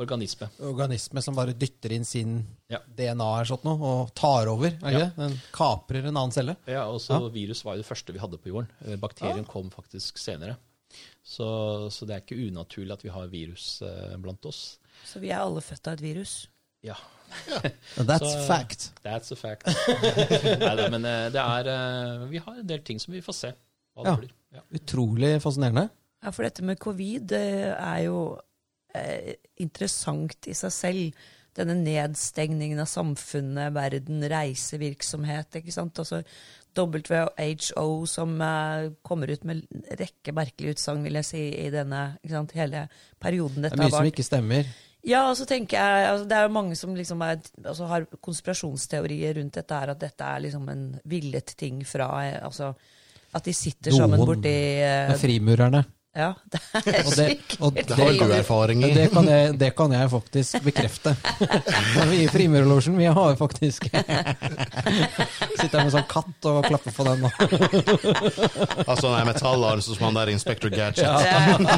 Organisme.
organisme som bare dytter inn sin
Ja.
DNA eller sånt noe, og tar over. Er det ikke
Ja.
det? Den kaprer en annen celle.
Ja, og så virus var jo det første vi hadde på jorden. Eh, Bakterien kom faktisk senere. Så, så det er ikke unaturlig at vi har virus eh, blant oss.
Så vi er alle født av et virus.
Ja,
That's
Så-
fact.
that's a fact. Neida, men eh, det er eh, Vi har en del ting som vi får se hva det
Ja.
blir. Ja.
Utrolig fascinerende.
Ja, for dette med covid det er jo eh, interessant i seg selv. Denne nedstengningen av samfunnet, verden, reisevirksomhet, ikke sant. Altså WHO som eh, kommer ut med en rekke merkelige utsagn, vil jeg si, i denne ikke sant, hele perioden
Det
dette
er mye
har
som
vart.
ikke stemmer.
Ja, og så tenker jeg, altså, Det er jo mange som liksom er, altså, har konspirasjonsteorier rundt dette, her, at dette er liksom en villet ting fra eh, altså, At de sitter sammen
Noen.
borti
Det
eh,
er frimurerne.
Ja, det er
Og det, og
Det har vel du
det,
erfaring i.
det, kan jeg, det kan jeg faktisk bekrefte. Vi i Frimurerlosjen vi har faktisk Sitter her med sånn katt og klapper på den. nå.
Altså den metallarm som han der Inspector Gadget.
Med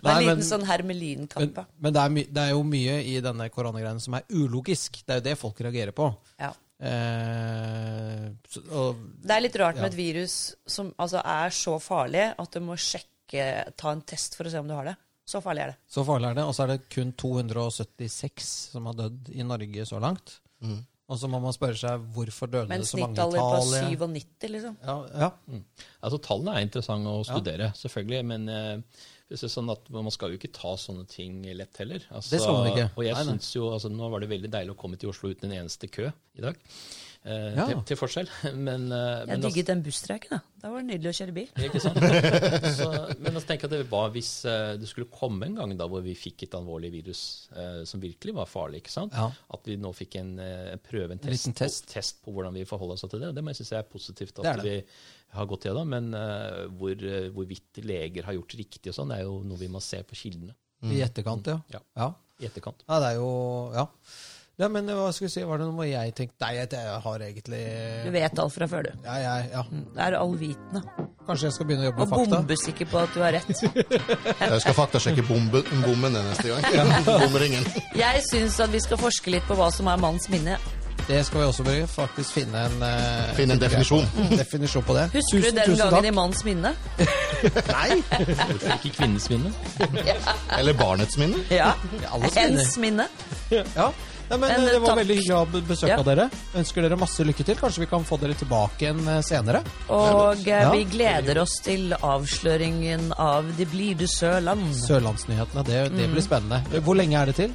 Nei,
en
men-
liten sånn hermelinkappe.
Men, men det, er my, det er jo mye i denne koronagreiene som er ulogisk. Det er jo det folk reagerer på.
Ja.
Eh, så, og,
Det er litt rart med
Ja.
et virus som altså, er så farlig at du må sjekke, ta en test for å se om du har det. Så farlig er det.
så farlig er det. Og så er det kun 276 som har dødd i Norge så langt.
Mm.
Og så må man spørre seg hvorfor døde
Med en
det så mange i
snittalder på
Italia?
97, liksom.
Ja, ja.
Altså, tallene er interessante å studere, selvfølgelig, men eh, det er sånn at man skal jo ikke ta sånne ting lett heller. Altså,
Det skal man ikke.
Og jeg
Nei, nei.
synes jo, altså, Nå var det veldig deilig å komme til Oslo uten en eneste kø i dag. Eh,
Ja.
til, til forskjell. Men, eh,
Jeg
men altså-
digget den busstreiken, da. Da var det nydelig å kjøre bil.
Ikke sant? Så, men altså, tenk at det var hvis eh, det skulle komme en gang da hvor vi fikk et alvorlig virus eh, som virkelig var farlig, ikke sant?
Ja.
at vi nå fikk en eh, prøve, en test,
liten test.
På, test på hvordan vi forholder oss til det. Det må jeg synes er positivt
Det er
at vi har gått gjennom. Men eh, hvor, eh, hvorvidt leger har gjort riktig og sånn, det er jo noe vi må se på kildene
Mm.
I etterkant, ja.
Ja.
ja.
i etterkant.
Ja, det er jo Ja. ja men hva skal vi si, var det noe jeg tenkte Nei, jeg, jeg har egentlig
Du vet alt fra før, du.
ja, jeg, ja.
Det er allvitende.
Kanskje jeg skal begynne å jobbe
Og
med fakta?
bombesikker på at du har rett.
Jeg skal faktasjekke bombe, bommen neste gang. Bomringen.
Jeg syns at vi skal forske litt på hva som er manns minne.
Det skal vi også bør faktisk finne en eh,
Finne en definisjon.
definisjon på det.
Husker
Tusen,
du den
tusen
gangen
takk.
i manns minne?
Nei!
Hvorfor ikke kvinnens minne?
Eller barnets minne.
Ja.
alles minner.
Hens minne.
Ja. Nei, men,
Men,
eh, det var
takk.
veldig hyggelig å ha besøk
Ja.
av dere. Ønsker dere masse lykke til. Kanskje vi kan få dere tilbake igjen eh, senere.
Og eh,
Ja.
vi gleder oss til avsløringen av Det blide Sørland.
Sørlandsnyhetene. Det, det
Mm.
blir spennende. Hvor lenge er det til?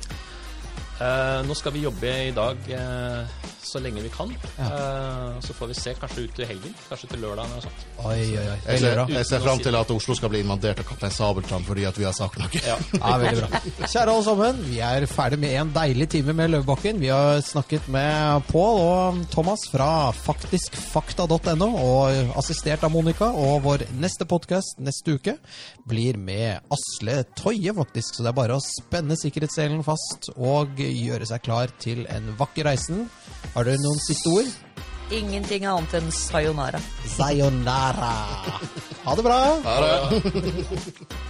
Eh, nå skal vi jobbe i dag eh, så lenge vi kan. Eh, så får vi se, kanskje ut til helgen, kanskje til lørdag eller noe sånt.
Oi, oi, oi.
Jeg
Veldig
ser,
bra.
jeg ser fram til at Oslo skal bli invadert av Kaptein Sabeltann fordi at vi har sagt noe.
Ja, veldig bra. Kjære alle sammen, vi er ferdig med en deilig time med Løvebakken. Vi har snakket med Pål og Thomas fra faktiskfakta.no, og assistert av Monica. Og vår neste podkast neste uke blir med Asle Toje, faktisk. Så det er bare å spenne sikkerhetsselen fast og gjøre seg klar til en vakker reisen. Har dere noen siste ord?
Ingenting annet enn sayonara.
Sayonara. Ha det bra.
Ha det.